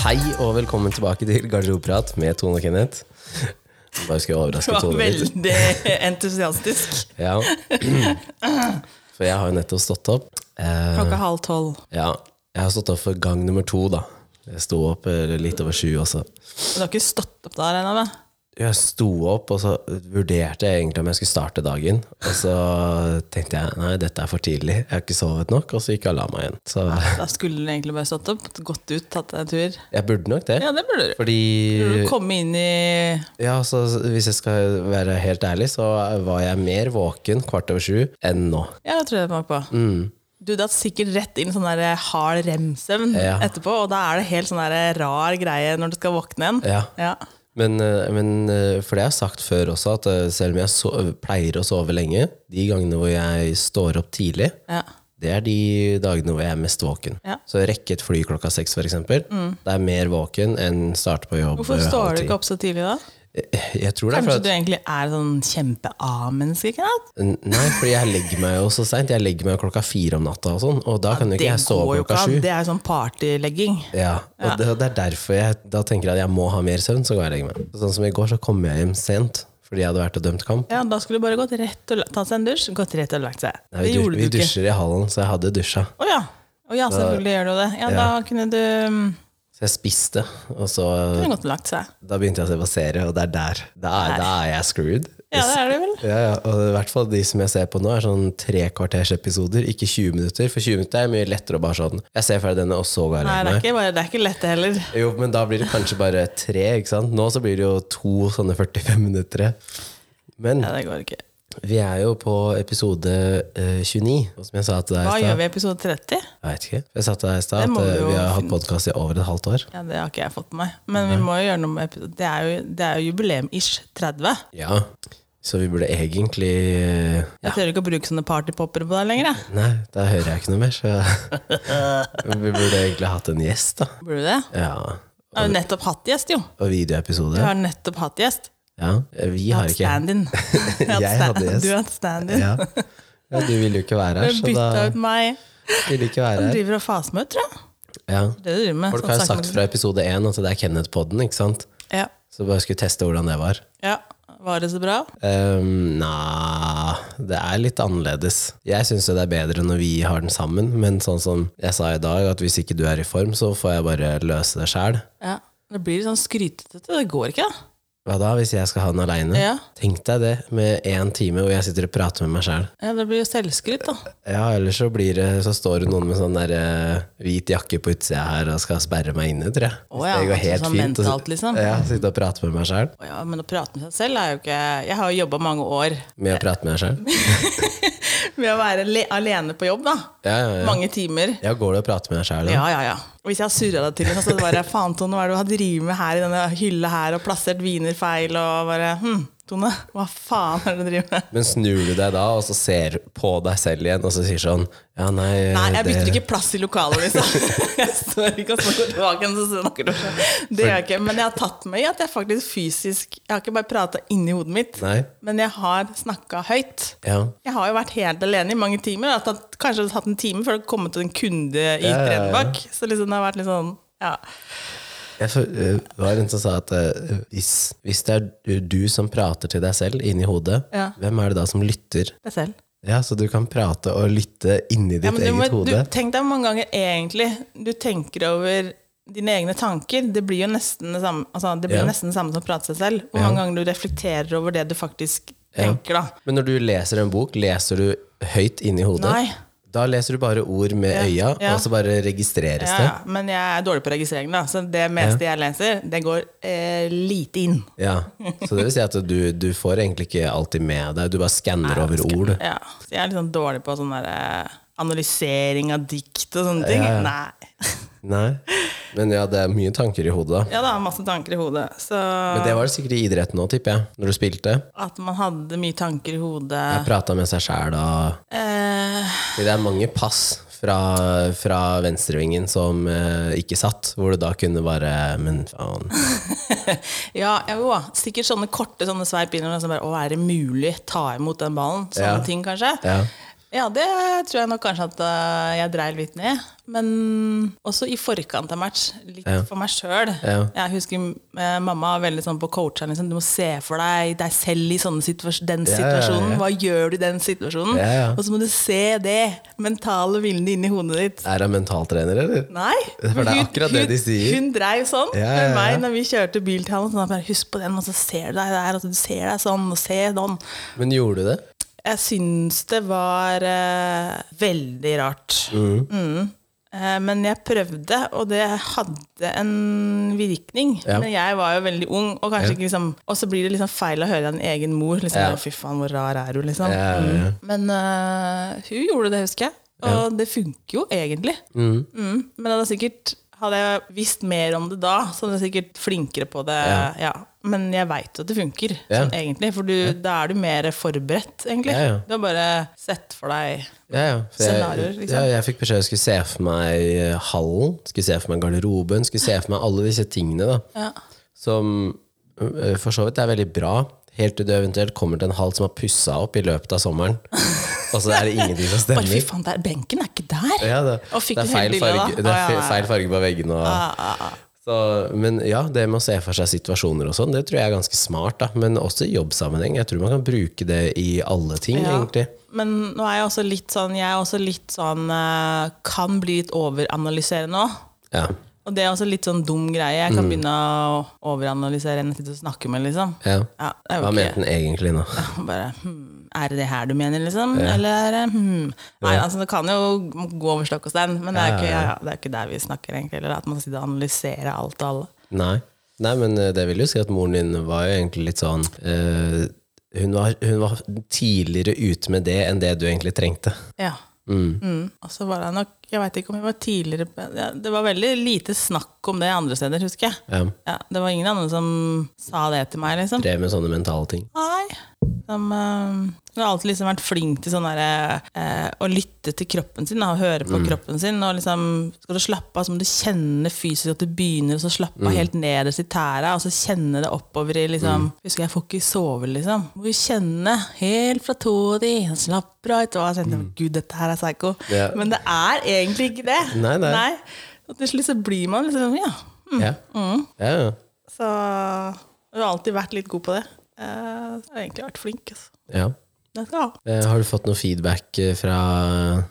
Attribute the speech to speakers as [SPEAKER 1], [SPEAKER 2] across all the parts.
[SPEAKER 1] Hei og velkommen tilbake til Garderobeprat med Tone og Kenneth. Bare skulle jeg
[SPEAKER 2] Du
[SPEAKER 1] overraske
[SPEAKER 2] var
[SPEAKER 1] Tone litt.
[SPEAKER 2] veldig entusiastisk.
[SPEAKER 1] Ja. For jeg har jo nettopp stått opp. Eh,
[SPEAKER 2] Klokka halv tolv.
[SPEAKER 1] ja, jeg har stått opp for gang nummer to, da. Jeg sto opp eh, litt over sju også.
[SPEAKER 2] Men Du har ikke stått opp da, regner jeg med?
[SPEAKER 1] Jeg sto opp, og så vurderte jeg egentlig om jeg skulle starte dagen. Og så tenkte jeg nei, dette er for tidlig, jeg har ikke sovet nok, og så gikk alarma igjen. Så
[SPEAKER 2] Da skulle du egentlig bare stått opp, gått ut, tatt deg en tur.
[SPEAKER 1] jeg burde nok det.
[SPEAKER 2] Ja, Mm. det burde du.
[SPEAKER 1] Fordi
[SPEAKER 2] Burde du komme inn i
[SPEAKER 1] Ja, så Hvis jeg skal være helt ærlig, så var jeg mer våken kvart over sju enn nå.
[SPEAKER 2] Ja, det tror jeg det var på.
[SPEAKER 1] Mm.
[SPEAKER 2] Du datt sikkert rett inn i sånn der hard remsøvn
[SPEAKER 1] Ja.
[SPEAKER 2] etterpå, og da er det helt sånn der rar greie når du skal våkne igjen.
[SPEAKER 1] Ja.
[SPEAKER 2] Ja.
[SPEAKER 1] Men, eh, men eh, for det jeg har sagt før også, at eh, selv om jeg so pleier å sove lenge, de gangene hvor jeg står opp tidlig,
[SPEAKER 2] Ja.
[SPEAKER 1] det er de dagene hvor jeg er mest våken.
[SPEAKER 2] Ja. Mm.
[SPEAKER 1] Så rekke et fly klokka seks, f.eks. eksempel Det er mer våken enn starte på jobb Eh,
[SPEAKER 2] Hvorfor står du ikke opp så tidlig da?
[SPEAKER 1] Jeg tror det er
[SPEAKER 2] Kanskje
[SPEAKER 1] for
[SPEAKER 2] du
[SPEAKER 1] at
[SPEAKER 2] egentlig er sånn kjempe-A-menneske? ikke sant?
[SPEAKER 1] N- Nei, fordi jeg legger meg jo så seint. Jeg legger meg jo klokka fire om natta, og sånn Og da kan jo ikke jeg sove
[SPEAKER 2] går jo
[SPEAKER 1] klokka
[SPEAKER 2] ikke an.
[SPEAKER 1] sju.
[SPEAKER 2] Det er jo sånn partylegging.
[SPEAKER 1] Ja, og Det, og det er derfor jeg da tenker at jeg må ha mer søvn, så går jeg og legger meg. Sånn som i går, så kom jeg hjem sent fordi jeg hadde vært og dømt kamp.
[SPEAKER 2] Ja, da skulle du bare gått rett og la- tatt seg en dusj, gått rett og lagt seg.
[SPEAKER 1] Nei,
[SPEAKER 2] det
[SPEAKER 1] vi, du,
[SPEAKER 2] gjorde
[SPEAKER 1] vi
[SPEAKER 2] du ikke.
[SPEAKER 1] dusjer i hallen, så jeg hadde dusja.
[SPEAKER 2] Å ja. Å ja, selvfølgelig gjør du det. Ja, Da kunne du mm,
[SPEAKER 1] Så jeg spiste, og så
[SPEAKER 2] kunne gått og lagt seg.
[SPEAKER 1] da begynte jeg å se på serie, og det er der. Da er, da er jeg screwed.
[SPEAKER 2] Ja, det er det vel.
[SPEAKER 1] Ja, ja, og i hvert fall de som jeg ser på nå, er sånn tre kvarters episoder, ikke 20 minutter. For 20 minutter er mye lettere å bare sånn Jeg ser ferdig denne, og så går jeg og
[SPEAKER 2] Nei,
[SPEAKER 1] legger
[SPEAKER 2] det er
[SPEAKER 1] meg.
[SPEAKER 2] ikke, bare, det er ikke lett det heller.
[SPEAKER 1] Jo, men da blir det kanskje bare tre, ikke sant? Nå så blir det jo to sånne 45 minutter. Men
[SPEAKER 2] Ja, det går ikke.
[SPEAKER 1] Vi er jo på episode eh, 29, og som jeg sa til deg
[SPEAKER 2] Hva
[SPEAKER 1] i
[SPEAKER 2] gjør
[SPEAKER 1] stad
[SPEAKER 2] vi i episode 30?
[SPEAKER 1] Jeg vet ikke. Jeg sa til deg i stad
[SPEAKER 2] Det
[SPEAKER 1] at
[SPEAKER 2] må vi
[SPEAKER 1] eh,
[SPEAKER 2] jo
[SPEAKER 1] vi har hatt
[SPEAKER 2] finne
[SPEAKER 1] podkast i over et halvt år.
[SPEAKER 2] Ja, Det har ikke jeg fått med meg. Men vi må jo gjøre noe med episode. Det er jo, det er jo jubileum-ish 30.
[SPEAKER 1] Ja. Så vi burde egentlig eh,
[SPEAKER 2] Jeg tør ikke å bruke sånne partypopper på deg lenger. jeg.
[SPEAKER 1] Nei, da hører jeg ikke noe mer, så Vi burde egentlig hatt en gjest, da.
[SPEAKER 2] Burde du det?
[SPEAKER 1] Ja.
[SPEAKER 2] Jeg har jo nettopp hatt gjest, jo.
[SPEAKER 1] Og
[SPEAKER 2] Du
[SPEAKER 1] videoepisode.
[SPEAKER 2] har nettopp hatt gjest.
[SPEAKER 1] Ja. Eh, Vi
[SPEAKER 2] Du har
[SPEAKER 1] har
[SPEAKER 2] hatt
[SPEAKER 1] ikke
[SPEAKER 2] stand-in. Jeg har
[SPEAKER 1] Jeg
[SPEAKER 2] hatt
[SPEAKER 1] hadde
[SPEAKER 2] stand-
[SPEAKER 1] gjest.
[SPEAKER 2] Du har hatt stand-in.
[SPEAKER 1] ja. ja, du ville jo ikke være her,
[SPEAKER 2] Du
[SPEAKER 1] så da
[SPEAKER 2] bytta ut meg.
[SPEAKER 1] ville du ikke være
[SPEAKER 2] Du
[SPEAKER 1] her.
[SPEAKER 2] driver og faser meg ut, tror jeg.
[SPEAKER 1] Ja.
[SPEAKER 2] Det du driver med.
[SPEAKER 1] Folk
[SPEAKER 2] sånn
[SPEAKER 1] har jo
[SPEAKER 2] snakker
[SPEAKER 1] sagt
[SPEAKER 2] med-
[SPEAKER 1] fra episode én at det er Kenneth-podden, ikke sant?
[SPEAKER 2] Ja.
[SPEAKER 1] Så bare skulle teste hvordan det var.
[SPEAKER 2] ja. Var det så bra?
[SPEAKER 1] Um, Nei, det er litt annerledes. Jeg syns jo det er bedre når vi har den sammen, men sånn som jeg sa i dag, at hvis ikke du er i form, så får jeg bare løse det sjæl.
[SPEAKER 2] Ja. Det blir litt sånn skrytete. Det går ikke, da.
[SPEAKER 1] Hva da, hvis jeg skal ha den aleine?
[SPEAKER 2] Ja.
[SPEAKER 1] Tenk deg det, med én time hvor jeg sitter og prater med meg sjæl.
[SPEAKER 2] Ja, det blir jo selvskryt, da.
[SPEAKER 1] Ja, ellers så blir det Så står det noen med sånn der eh, hvit jakke på utsida her og skal sperre meg inne, tror jeg.
[SPEAKER 2] Å ja,
[SPEAKER 1] det går
[SPEAKER 2] altså
[SPEAKER 1] helt
[SPEAKER 2] sånn
[SPEAKER 1] fint. å
[SPEAKER 2] mentalt,
[SPEAKER 1] sit-
[SPEAKER 2] liksom.
[SPEAKER 1] Ja, sitte og prate med meg sjæl.
[SPEAKER 2] Å Ja, men å prate med seg selv er jo ikke Jeg har jo jobba mange år
[SPEAKER 1] Med å prate med meg sjæl.
[SPEAKER 2] med å være le alene på jobb, da.
[SPEAKER 1] Ja, ja, ja.
[SPEAKER 2] Mange timer.
[SPEAKER 1] ja, går det å prate med deg sjæl, da?
[SPEAKER 2] Ja, ja, ja. Og Hvis jeg har surra deg til, så bare faen, Tone, hva er det du har drevet med her i denne hylla her, og plassert viner feil, og bare hm, Tone, hva faen er det du driver med?
[SPEAKER 1] Men snur du deg da, og så ser på deg selv igjen, og så sier sånn Ja, nei,
[SPEAKER 2] Nei, jeg
[SPEAKER 1] Eh, det-
[SPEAKER 2] bytter ikke plass i lokalet, liksom. Jeg står ikke og snakker tilbake, så snakker du. Det gjør jeg ikke. Men jeg har tatt meg i at jeg faktisk fysisk Jeg har ikke bare prata inni hodet mitt,
[SPEAKER 1] Nei.
[SPEAKER 2] men jeg har snakka høyt.
[SPEAKER 1] Ja.
[SPEAKER 2] Jeg har jo vært helt alene i mange timer. Da. Tatt, kanskje tatt en time før det kom til en kunde
[SPEAKER 1] Ja,
[SPEAKER 2] i
[SPEAKER 1] ja, ja.
[SPEAKER 2] Drevbakk. Så liksom det har vært litt sånn ja.
[SPEAKER 1] Jeg, for, eh, det var en som sa at eh, hvis, hvis det er du- du som prater til deg selv inni hodet,
[SPEAKER 2] Ja.
[SPEAKER 1] hvem er det da som lytter?
[SPEAKER 2] Deg selv.
[SPEAKER 1] Ja, Så du kan prate og lytte inni ditt
[SPEAKER 2] Ja, men du,
[SPEAKER 1] eget
[SPEAKER 2] må- du,
[SPEAKER 1] hode?
[SPEAKER 2] tenk deg hvor mange ganger egentlig du tenker over dine egne tanker. Det blir jo nesten det samme, altså, det blir
[SPEAKER 1] Ja.
[SPEAKER 2] jo nesten det samme som å prate seg selv. Hvor mange ganger du reflekterer over det du faktisk tenker, da.
[SPEAKER 1] Men når du leser en bok, leser du høyt inni hodet?
[SPEAKER 2] Nei.
[SPEAKER 1] Da leser du bare ord med øya,
[SPEAKER 2] ja.
[SPEAKER 1] og så bare registreres
[SPEAKER 2] Ja, ja. Men jeg er dårlig på registrering, da. Så det meste jeg leser, det går eh, lite inn.
[SPEAKER 1] det. Ja. Så det vil si at du, du får egentlig ikke alltid med deg, du bare skanner over ord.
[SPEAKER 2] Ja, så jeg er litt sånn dårlig på sånn der eh, analysering av dikt og sånne ting. Nei.
[SPEAKER 1] Nei. Men ja, det er mye tanker i hodet, da.
[SPEAKER 2] Ja, da, masse tanker i hodet. Så
[SPEAKER 1] Men det var det sikkert i idretten òg, tipper jeg. Når du spilte.
[SPEAKER 2] at man hadde mye tanker i hodet
[SPEAKER 1] Prata med seg sjæl og
[SPEAKER 2] eh,
[SPEAKER 1] Fordi Det er mange pass fra, fra venstrevingen som eh, ikke satt, hvor du da kunne bare Men faen.
[SPEAKER 2] Ja, jo. Sikkert sånne korte sånne sveip innover. Sånn bare, å, er det mulig? Ta imot den ballen? Sånne
[SPEAKER 1] Ja.
[SPEAKER 2] ting, kanskje.
[SPEAKER 1] Ja.
[SPEAKER 2] Ja, det tror jeg nok kanskje at eh, jeg dreier litt ned. Men også i forkant av match, litt for meg sjøl.
[SPEAKER 1] Ja.
[SPEAKER 2] Jeg husker eh, mamma var veldig sånn på coacheren. Liksom, du må se for deg deg selv i sånne situas den
[SPEAKER 1] Ja, ja, ja,
[SPEAKER 2] situasjonen.
[SPEAKER 1] ja.
[SPEAKER 2] Hva gjør du i den situasjonen?
[SPEAKER 1] Ja, ja.
[SPEAKER 2] Og så må du se det mentale bildet inni hodet ditt.
[SPEAKER 1] Er han mentaltrener, eller?
[SPEAKER 2] Nei.
[SPEAKER 1] For det er
[SPEAKER 2] hun-
[SPEAKER 1] akkurat det de sier.
[SPEAKER 2] Hun, hun dreiv sånn
[SPEAKER 1] Ja, ja, ja.
[SPEAKER 2] med meg når vi kjørte bil til ham. Sånn, bare, Husk på den, og så ser du deg der, og så ser deg sånn, og se sånn.
[SPEAKER 1] Men gjorde du det?
[SPEAKER 2] Jeg syns det var eh, veldig rart. Mm. Eh, men jeg prøvde, og det hadde en virkning.
[SPEAKER 1] Ja.
[SPEAKER 2] Men jeg var jo veldig ung, og kanskje ikke liksom Og så blir det liksom feil å høre en egen mor. Liksom,
[SPEAKER 1] Ja.
[SPEAKER 2] «Å, 'Fy faen, hvor rar er du?' liksom.
[SPEAKER 1] Ja, ja, ja.
[SPEAKER 2] Men eh, hun gjorde det, husker jeg. Og det funker jo egentlig. Mm. Men hadde sikkert hadde jeg visst mer om det da, så hadde jeg sikkert flinkere på det. Ja.
[SPEAKER 1] Ja.
[SPEAKER 2] Men jeg veit jo at det funker,
[SPEAKER 1] Ja.
[SPEAKER 2] sånn, egentlig. For du, da er du mer forberedt, egentlig.
[SPEAKER 1] Ja, ja.
[SPEAKER 2] Du har bare sett for deg
[SPEAKER 1] Ja, ja. For jeg,
[SPEAKER 2] Scenarioer, liksom.
[SPEAKER 1] ja, jeg fikk beskjed om jeg skulle se for meg eh, hallen, skulle se for meg garderoben, skulle se for meg alle disse tingene. da.
[SPEAKER 2] ja.
[SPEAKER 1] Som eh, for så vidt er veldig bra, helt til du eventuelt kommer til en hall som har pussa opp i løpet av sommeren. Og så er det ingenting som
[SPEAKER 2] Bare fy
[SPEAKER 1] stemmer.
[SPEAKER 2] faen, der, benken er ikke der!
[SPEAKER 1] Ja, det,
[SPEAKER 2] Og fikk
[SPEAKER 1] det er
[SPEAKER 2] du hele
[SPEAKER 1] feil farge, det
[SPEAKER 2] bildet, da?
[SPEAKER 1] er
[SPEAKER 2] Å, ja,
[SPEAKER 1] fe-
[SPEAKER 2] ja, Ah. ja.
[SPEAKER 1] feil farge på veggene. Og, Så, men ja, det med å se for seg situasjoner og sånn, det tror jeg er ganske smart. da. Men også i jobbsammenheng. Jeg tror man kan bruke det i alle ting,
[SPEAKER 2] Ja.
[SPEAKER 1] egentlig.
[SPEAKER 2] Men nå er jeg også litt sånn, jeg er også litt sånn eh, Kan bli litt overanalyserende òg.
[SPEAKER 1] Ja,
[SPEAKER 2] Og det er også litt sånn dum greie. Jeg kan
[SPEAKER 1] Mm.
[SPEAKER 2] begynne å overanalysere enn jeg sitter og snakker med, liksom.
[SPEAKER 1] ja.
[SPEAKER 2] Ja, det er jo
[SPEAKER 1] Hva
[SPEAKER 2] ikke-
[SPEAKER 1] mente den egentlig nå?
[SPEAKER 2] Bare, hmm, er det det her du mener, liksom? Eller hmm. Nei, altså det kan jo gå over stokk og stein, men det er, ikke, ja, ja, det er ikke der vi snakker, egentlig. Eller at man sitter og analyserer alt og alle.
[SPEAKER 1] Nei. Nei, men eh, det vil jo si at moren din var jo egentlig litt sånn eh, hun, var, hun var tidligere ute med det enn det du egentlig trengte.
[SPEAKER 2] Ja. Mm. Og så var det nok Jeg veit ikke om jeg var tidligere på- ja, Det var veldig lite snakk om det andre steder, husker jeg.
[SPEAKER 1] Ja,
[SPEAKER 2] Ja, det var ingen andre som sa det til meg, liksom.
[SPEAKER 1] Drev med sånne mentale ting.
[SPEAKER 2] Nei. Som, eh, hun har alltid liksom vært flink til sånn derre, eh, å lytte til kroppen sin da, og høre
[SPEAKER 1] Mm.
[SPEAKER 2] på kroppen sin. Og liksom, skal du slappe av, så må du kjenne fysisk at du begynner å så slappe
[SPEAKER 1] Mm.
[SPEAKER 2] av helt nederst i tæra, og så kjenne det oppover i liksom Husker jeg får ikke sove, liksom. Må jo kjenne helt fra tåa di Slapper av. Og jeg kjente gud, dette her er psycho.
[SPEAKER 1] Mm. Ja.
[SPEAKER 2] Men det er egentlig ikke det.
[SPEAKER 1] Nei, nei.
[SPEAKER 2] Og til slutt så blir man liksom Ja.
[SPEAKER 1] Ja.
[SPEAKER 2] Mm.
[SPEAKER 1] Ja, ja.
[SPEAKER 2] Så jeg har alltid vært litt god på det. Eh, Jeg har egentlig vært flink. Altså.
[SPEAKER 1] ja.
[SPEAKER 2] Det skal jeg ha.
[SPEAKER 1] Eh, Har du fått noe feedback eh, fra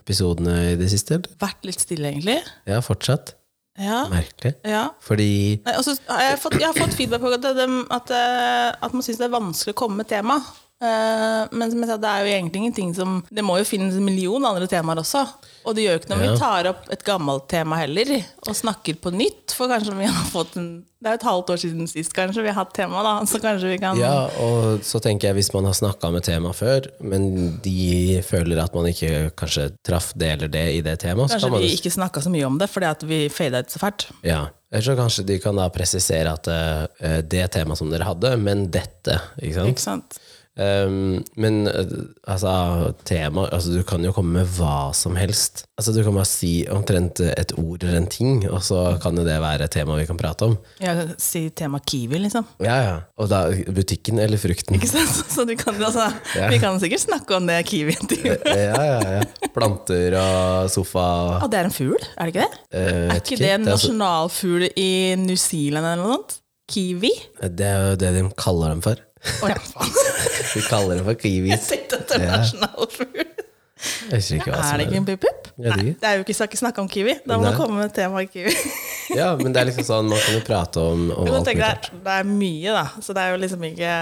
[SPEAKER 1] episodene i det siste? eller?
[SPEAKER 2] Vært litt stille, egentlig.
[SPEAKER 1] Ja, fortsatt.
[SPEAKER 2] Ja.
[SPEAKER 1] Merkelig.
[SPEAKER 2] ja.
[SPEAKER 1] Fordi
[SPEAKER 2] Nei, og så har jeg, fått, jeg har fått feedback på at, dem- at, eh, at man syns det er vanskelig å komme med tema. Eh, Men som jeg sa, det er jo egentlig ingenting som Det må jo finnes en million andre temaer også. Og det gjør jo ikke noe om
[SPEAKER 1] Ja.
[SPEAKER 2] vi tar opp et gammelt tema heller, og snakker på nytt. For kanskje vi har fått en Det er jo et halvt år siden sist kanskje vi har hatt tema, da. Så kanskje vi kan
[SPEAKER 1] Ja, og så tenker jeg hvis man har snakka med temaet før, men de føler at man ikke kanskje traff det eller det i det temaet, så
[SPEAKER 2] Kanskje
[SPEAKER 1] kan man
[SPEAKER 2] vi ikke snakka så mye om det fordi at vi fada ut så fælt.
[SPEAKER 1] Ja. Eller så kanskje de kan da presisere at eh, det temaet som dere hadde, men dette. Ikke sant?
[SPEAKER 2] Ikke sant?
[SPEAKER 1] Ehm, men eh, altså, tema altså, Du kan jo komme med hva som helst. Altså, du kan bare si omtrent et ord eller en ting, og så kan jo det være et tema vi kan prate om.
[SPEAKER 2] Ja, si tema Kiwi, liksom.
[SPEAKER 1] Ja, ja. Og da butikken eller frukten.
[SPEAKER 2] Ikke sant? Så du kan, altså, vi kan sikkert snakke om det Kiwi en time.
[SPEAKER 1] ja, ja, ja. Planter og sofa.
[SPEAKER 2] Og det er en fugl, er det ikke det?
[SPEAKER 1] eh,
[SPEAKER 2] Er
[SPEAKER 1] vet
[SPEAKER 2] ikke det en
[SPEAKER 1] er så-
[SPEAKER 2] nasjonalfugl i New Zealand eller noe sånt? Kiwi?
[SPEAKER 1] Altså, det er jo det de kaller dem for.
[SPEAKER 2] Å ja, faen.
[SPEAKER 1] De kaller dem for
[SPEAKER 2] Jeg
[SPEAKER 1] kiwis.
[SPEAKER 2] tenkte at det var nasjonalfugl.
[SPEAKER 1] Jeg husker ikke hva som
[SPEAKER 2] Er det ikke en pip-pip?
[SPEAKER 1] altså, Jeg vet
[SPEAKER 2] Nei,
[SPEAKER 1] ikke.
[SPEAKER 2] det er jo ikke, skal ikke snakke om kiwi. Da må
[SPEAKER 1] Nei.
[SPEAKER 2] du komme med tema kiwi.
[SPEAKER 1] Ja, men det er liksom sånn, man kan jo prate om, om
[SPEAKER 2] Du
[SPEAKER 1] alt
[SPEAKER 2] kan
[SPEAKER 1] mulig.
[SPEAKER 2] tenke deg, det er mye, da. Så det er jo liksom ikke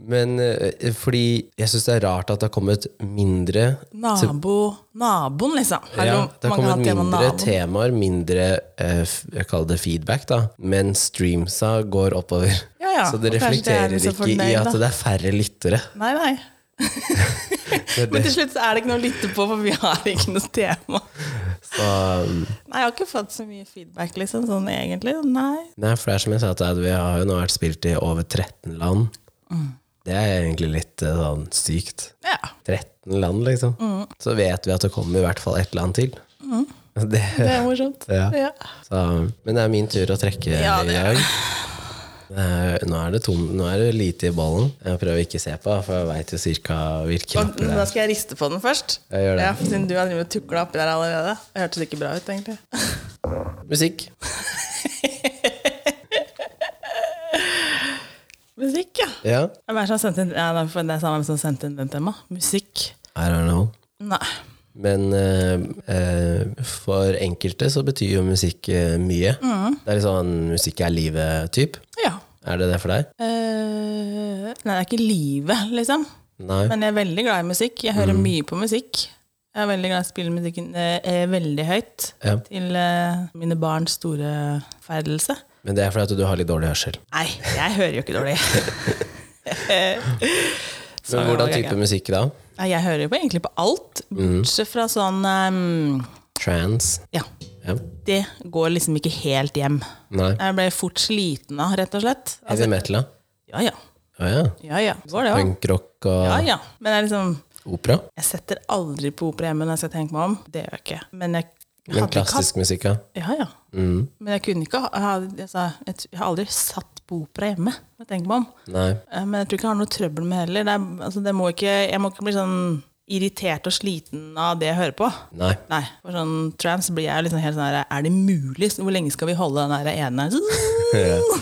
[SPEAKER 1] Men eh, fordi jeg syns det er rart at det har kommet mindre
[SPEAKER 2] Nabo Naboen, liksom. Hallo,
[SPEAKER 1] ja, Det har
[SPEAKER 2] mange har
[SPEAKER 1] kommet
[SPEAKER 2] hatt tema
[SPEAKER 1] mindre temaer,
[SPEAKER 2] naboen.
[SPEAKER 1] mindre eh, f- jeg kaller det feedback, da. Men streamsa går oppover.
[SPEAKER 2] Ja, ja,
[SPEAKER 1] Så det
[SPEAKER 2] og kanskje det er
[SPEAKER 1] reflekterer
[SPEAKER 2] de som
[SPEAKER 1] ikke i
[SPEAKER 2] fornøyd,
[SPEAKER 1] at
[SPEAKER 2] da.
[SPEAKER 1] det er færre lyttere.
[SPEAKER 2] Nei, nei.
[SPEAKER 1] Det er
[SPEAKER 2] Men
[SPEAKER 1] det.
[SPEAKER 2] til slutt så er det ikke noe å lytte på, for vi har ikke noe tema.
[SPEAKER 1] Så, um,
[SPEAKER 2] Nei, jeg har ikke fått så mye feedback, liksom, sånn egentlig. Nei.
[SPEAKER 1] nei, for det er som jeg sa, at vi har jo nå vært spilt i over 13 land.
[SPEAKER 2] Mm.
[SPEAKER 1] Det er egentlig litt eh, sånn sykt.
[SPEAKER 2] Ja.
[SPEAKER 1] 13 land, liksom.
[SPEAKER 2] Mm.
[SPEAKER 1] Så vet vi at det kommer i hvert fall et land til. Det,
[SPEAKER 2] Det er morsomt.
[SPEAKER 1] Ja.
[SPEAKER 2] Ja.
[SPEAKER 1] Så, men det er min tur å trekke
[SPEAKER 2] Ja,
[SPEAKER 1] i
[SPEAKER 2] det
[SPEAKER 1] dag. Eh, Nå er det tom, nå er det lite i ballen. Jeg prøver ikke å se på, for jeg veit jo cirka hvilke
[SPEAKER 2] Og,
[SPEAKER 1] lapper det
[SPEAKER 2] da
[SPEAKER 1] er.
[SPEAKER 2] skal jeg riste på den først.
[SPEAKER 1] Jeg gjør det.
[SPEAKER 2] Ja, for Siden du har drevet og tukla oppi der allerede. Det hørtes ikke bra ut, egentlig.
[SPEAKER 1] Musikk.
[SPEAKER 2] Musikk, ja.
[SPEAKER 1] Ja.
[SPEAKER 2] Hvem er det som har sendt inn ja, det er for- det er samme som sendte inn den tema? Musikk?
[SPEAKER 1] I don't know.
[SPEAKER 2] Nei.
[SPEAKER 1] Men eh, eh, for enkelte så betyr jo musikk eh, mye.
[SPEAKER 2] Mm.
[SPEAKER 1] Det er litt sånn musikk er livet-type.
[SPEAKER 2] Ja.
[SPEAKER 1] Er det det for deg?
[SPEAKER 2] Eh, nei, det er ikke livet, liksom.
[SPEAKER 1] Nei.
[SPEAKER 2] Men jeg er veldig glad i musikk. Jeg hører mye på musikk. Jeg er veldig glad i å spille musikken eh, eh, veldig høyt
[SPEAKER 1] Ja.
[SPEAKER 2] til eh, mine barns store ferdelse.
[SPEAKER 1] Men det er fordi at du har litt dårlig hørsel.
[SPEAKER 2] Nei, jeg hører jo ikke dårlig. Så
[SPEAKER 1] Men hvordan
[SPEAKER 2] jeg-
[SPEAKER 1] type musikk da?
[SPEAKER 2] Nei, Jeg hører jo på, egentlig på alt, bortsett fra sånn ehm,
[SPEAKER 1] Trans?
[SPEAKER 2] Ja,
[SPEAKER 1] Ja.
[SPEAKER 2] det går liksom ikke helt hjem.
[SPEAKER 1] Nei.
[SPEAKER 2] Jeg ble fort sliten av, rett og slett.
[SPEAKER 1] Heavy metal, da?
[SPEAKER 2] Ja ja.
[SPEAKER 1] Å ja.
[SPEAKER 2] altså- ja, ja. Går det òg.
[SPEAKER 1] Punkrock og
[SPEAKER 2] Ja ja. Men jeg liksom
[SPEAKER 1] opera?
[SPEAKER 2] Jeg setter aldri på opera hjemme når jeg skal tenke meg om. Det gjør jeg ikke. Men jeg
[SPEAKER 1] Men
[SPEAKER 2] hadde ikke hatt
[SPEAKER 1] klassisk musikk, ja.
[SPEAKER 2] Ja, ja.
[SPEAKER 1] Mm.
[SPEAKER 2] Men jeg kunne ikke ha jeg hadde- jeg, sa, jeg, t- jeg har aldri satt på opera hjemme. når Jeg tenker meg om.
[SPEAKER 1] Nei.
[SPEAKER 2] Eh, Men jeg tror ikke jeg har noe trøbbel med heller. Det er, altså, det må ikke, jeg må ikke bli sånn irritert og sliten av det jeg hører på.
[SPEAKER 1] Nei.
[SPEAKER 2] Nei, for sånn trans blir jeg liksom helt sånn her Er det mulig? Hvor lenge skal vi holde den der ene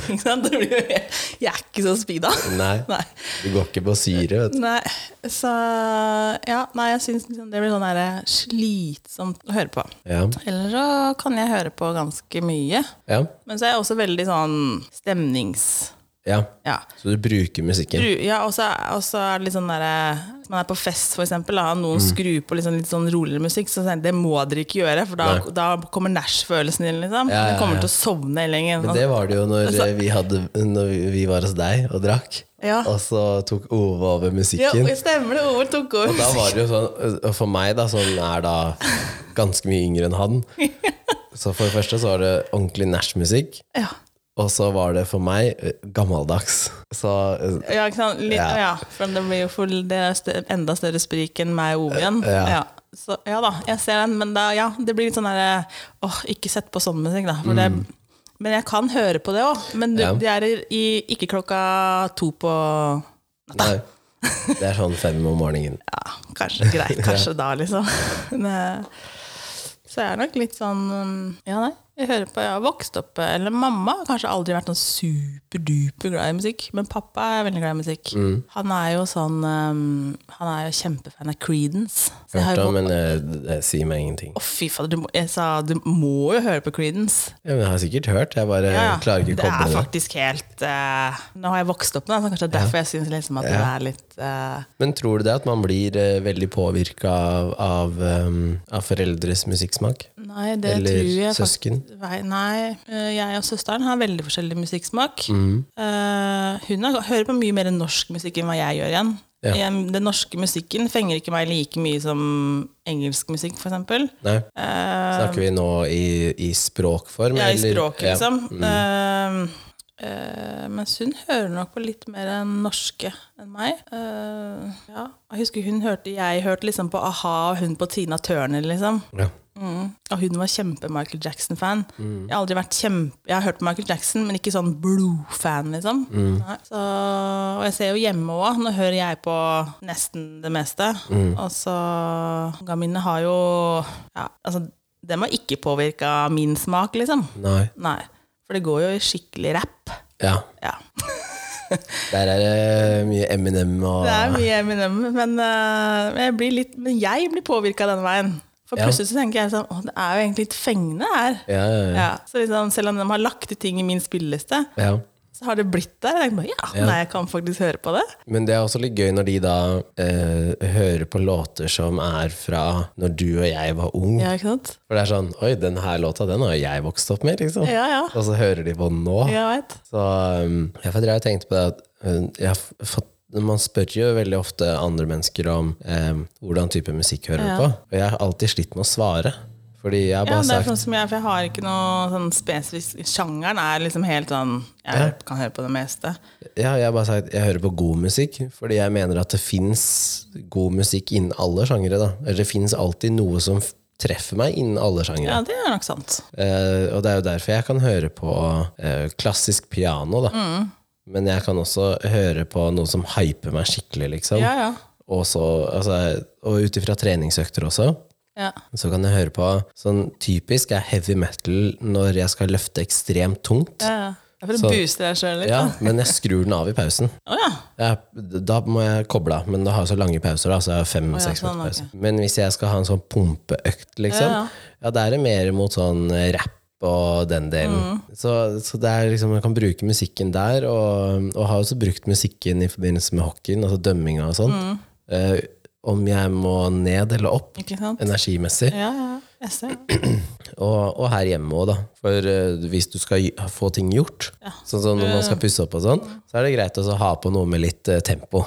[SPEAKER 2] Ikke sant? Det blir jo helt- Jeg er ikke så speeda.
[SPEAKER 1] Nei.
[SPEAKER 2] Nei.
[SPEAKER 1] Du går ikke på syre, vet du.
[SPEAKER 2] Nei, så ja, nei, jeg syns liksom det blir sånn her slitsomt å høre på.
[SPEAKER 1] Ja.
[SPEAKER 2] Eller så kan jeg høre på ganske mye.
[SPEAKER 1] Ja.
[SPEAKER 2] Men så er jeg også veldig sånn stemnings...
[SPEAKER 1] ja.
[SPEAKER 2] Ja.
[SPEAKER 1] Så du bruker musikken?
[SPEAKER 2] Bru- Ja, og så og så er det litt sånn derre Hvis man er på fest, for eksempel, da, og
[SPEAKER 1] Mm.
[SPEAKER 2] noen skrur på litt sånn, litt sånn roligere musikk, så sier jeg, det må dere ikke gjøre, for da,
[SPEAKER 1] Nei.
[SPEAKER 2] da kommer Nash-følelsen din, liksom.
[SPEAKER 1] Ja, ja,
[SPEAKER 2] Du kommer
[SPEAKER 1] ja.
[SPEAKER 2] til å sovne i lenge.
[SPEAKER 1] Men det var det jo når eh, vi, hadde, når vi- vi var hos deg og drakk.
[SPEAKER 2] Altså- Ja.
[SPEAKER 1] Og så tok Ove over
[SPEAKER 2] ja,
[SPEAKER 1] musikken.
[SPEAKER 2] stemmer det. Over tok over.
[SPEAKER 1] Og da var det jo sånn, og for meg da, som er da ganske mye yngre enn han Så for det første så var det ordentlig Nash-musikk,
[SPEAKER 2] Ja.
[SPEAKER 1] og så var det for meg eh, gammeldags. Så eh,
[SPEAKER 2] Ja, ikke sant? Litt,
[SPEAKER 1] Ja.
[SPEAKER 2] ja. for det blir jo for, det er stø- enda større sprik enn meg og Ove igjen.
[SPEAKER 1] Eh, Ja.
[SPEAKER 2] Så, ja da, jeg ser den, men da, ja, det blir litt sånn derre Åh, ikke sett på sånn musikk, da. For det, men jeg kan høre på det òg. Men du,
[SPEAKER 1] Mm. Ja.
[SPEAKER 2] det er i, ikke klokka to på
[SPEAKER 1] nei. Det er sånn fem om morgenen.
[SPEAKER 2] Ja, kanskje greit. Kanskje da, liksom. Men, så jeg er nok litt sånn um, Ja, nei. Jeg hører på, jeg har vokst opp Eller mamma har kanskje aldri vært sånn superduper glad i musikk. Men pappa er veldig glad i musikk.
[SPEAKER 1] Mm.
[SPEAKER 2] Han er jo sånn um, Han er jo kjempefan av Creedence. Så jeg har
[SPEAKER 1] Hørte
[SPEAKER 2] jo
[SPEAKER 1] om, men eh, det sier meg ingenting.
[SPEAKER 2] Å, fy fader, du må, jeg sa du må jo høre på Creedence.
[SPEAKER 1] Ja, men jeg har sikkert hørt, jeg bare
[SPEAKER 2] Ja, ja.
[SPEAKER 1] klarer ikke å
[SPEAKER 2] det er
[SPEAKER 1] koble det.
[SPEAKER 2] faktisk helt eh, Nå har jeg vokst opp med det, så kanskje det er derfor jeg syns liksom at det er litt eh,
[SPEAKER 1] Men tror du det at man blir eh, veldig påvirka av, av, ehm, av foreldres musikksmak?
[SPEAKER 2] Nei, det
[SPEAKER 1] Eller
[SPEAKER 2] tror jeg
[SPEAKER 1] søsken?
[SPEAKER 2] Faktisk, nei, nei, eh, jeg og søsteren har veldig forskjellig musikksmak.
[SPEAKER 1] Mm.
[SPEAKER 2] Eh, hun har, hører på mye mer norsk musikk enn hva jeg gjør igjen.
[SPEAKER 1] Ja.
[SPEAKER 2] Jeg- Den norske musikken fenger ikke meg like mye som engelsk musikk, for eksempel.
[SPEAKER 1] Nei?
[SPEAKER 2] Eh,
[SPEAKER 1] Snakker vi nå i, i språkform?
[SPEAKER 2] jeg er i
[SPEAKER 1] eller-
[SPEAKER 2] språket,
[SPEAKER 1] Ja. Mm.
[SPEAKER 2] liksom. Eh, eh, mens hun hører nok på litt mer enn norske enn meg. Eh, ja. Jeg husker hun hørte, jeg hørte liksom på a-ha og hun på Tina Turner, liksom.
[SPEAKER 1] Ja.
[SPEAKER 2] Mm. Og hun var kjempe-Michael Jackson-fan. Jeg har aldri vært kjempe Jeg har hørt på Michael Jackson, men ikke sånn blodfan, liksom. Nei. Så, og jeg ser jo hjemme òg. Nå hører jeg på nesten det meste. Og så Ungene mine har jo ja, Altså, dem har ikke påvirka min smak, liksom.
[SPEAKER 1] Nei.
[SPEAKER 2] Nei. For det går jo i skikkelig rapp.
[SPEAKER 1] Ja.
[SPEAKER 2] Ja.
[SPEAKER 1] Der er det mye Eminem og
[SPEAKER 2] Det er mye Eminem, men, eh, men jeg blir litt Men jeg blir påvirka denne veien. For
[SPEAKER 1] Ja.
[SPEAKER 2] plutselig så tenker jeg sånn Å, det er jo egentlig litt fengende her.
[SPEAKER 1] ja, ja, ja.
[SPEAKER 2] Ja, så liksom, selv om de har lagt ut ting i min spilleliste,
[SPEAKER 1] ja.
[SPEAKER 2] så har det blitt der. Jeg tenker, bare, ja, nei, jeg kan faktisk høre på det.
[SPEAKER 1] Men det er også litt gøy når de da eh, hører på låter som er fra når du og jeg var ung.
[SPEAKER 2] Ja, ikke sant?
[SPEAKER 1] For det er sånn Oi, den her låta, den har jeg vokst opp med, liksom.
[SPEAKER 2] Ja, ja.
[SPEAKER 1] Og så hører de på den nå.
[SPEAKER 2] Jeg vet.
[SPEAKER 1] Så um, jeg får dreie og tenkte på det at um, jeg har fått man spør jo veldig ofte andre mennesker om um, hvordan type musikk hører du på. Og jeg har alltid slitt med å svare. Fordi jeg har
[SPEAKER 2] Ja,
[SPEAKER 1] bare
[SPEAKER 2] det er
[SPEAKER 1] sagt
[SPEAKER 2] sånn som jeg, for jeg har ikke noe sånn spesifisk Sjangeren er liksom helt sånn Jeg hører- kan høre på det meste.
[SPEAKER 1] ja, jeg, har bare sagt, jeg hører på god musikk, fordi jeg mener at det fins god musikk innen alle sjangere. da. Eller det fins alltid noe som f- treffer meg innen alle sjangere.
[SPEAKER 2] Ja, det er nok sant. Mm.
[SPEAKER 1] Eh, og det er jo derfor jeg kan høre på eh, klassisk piano, da. Men jeg kan også høre på noe som hyper meg skikkelig, liksom.
[SPEAKER 2] Ja, ja.
[SPEAKER 1] Og så- altså, og ut ifra treningsøkter også.
[SPEAKER 2] ja.
[SPEAKER 1] Så kan jeg høre på Sånn typisk er heavy metal når jeg skal løfte ekstremt tungt.
[SPEAKER 2] ja, ja. Det er for å
[SPEAKER 1] Så-
[SPEAKER 2] booste deg sjøl litt.
[SPEAKER 1] Ja,
[SPEAKER 2] da.
[SPEAKER 1] men jeg skrur den av i pausen.
[SPEAKER 2] Å ja.
[SPEAKER 1] Jeg, da må jeg koble av, men da har jeg så lange pauser. Da, så jeg har fem,
[SPEAKER 2] ja,
[SPEAKER 1] seks
[SPEAKER 2] sånn,
[SPEAKER 1] minutter pause. Men hvis jeg skal ha en sånn pumpeøkt, liksom,
[SPEAKER 2] Ja,
[SPEAKER 1] ja,
[SPEAKER 2] ja.
[SPEAKER 1] da er det mer mot sånn rapp og den
[SPEAKER 2] Mm.
[SPEAKER 1] delen. Så, så det er liksom, man kan bruke musikken der, og, og har også brukt musikken i forbindelse med hockeyen, altså dømminga og sånn.
[SPEAKER 2] Mm.
[SPEAKER 1] Eh, om jeg må ned eller opp
[SPEAKER 2] Ikke sant?
[SPEAKER 1] energimessig.
[SPEAKER 2] Ja, ja. Jeg ser det.
[SPEAKER 1] Og, og her hjemme òg, da. For eh, hvis du skal gj- få ting gjort, sånn som når man skal pusse opp og sånn, så er det greit også å ha på noe med litt eh, tempo.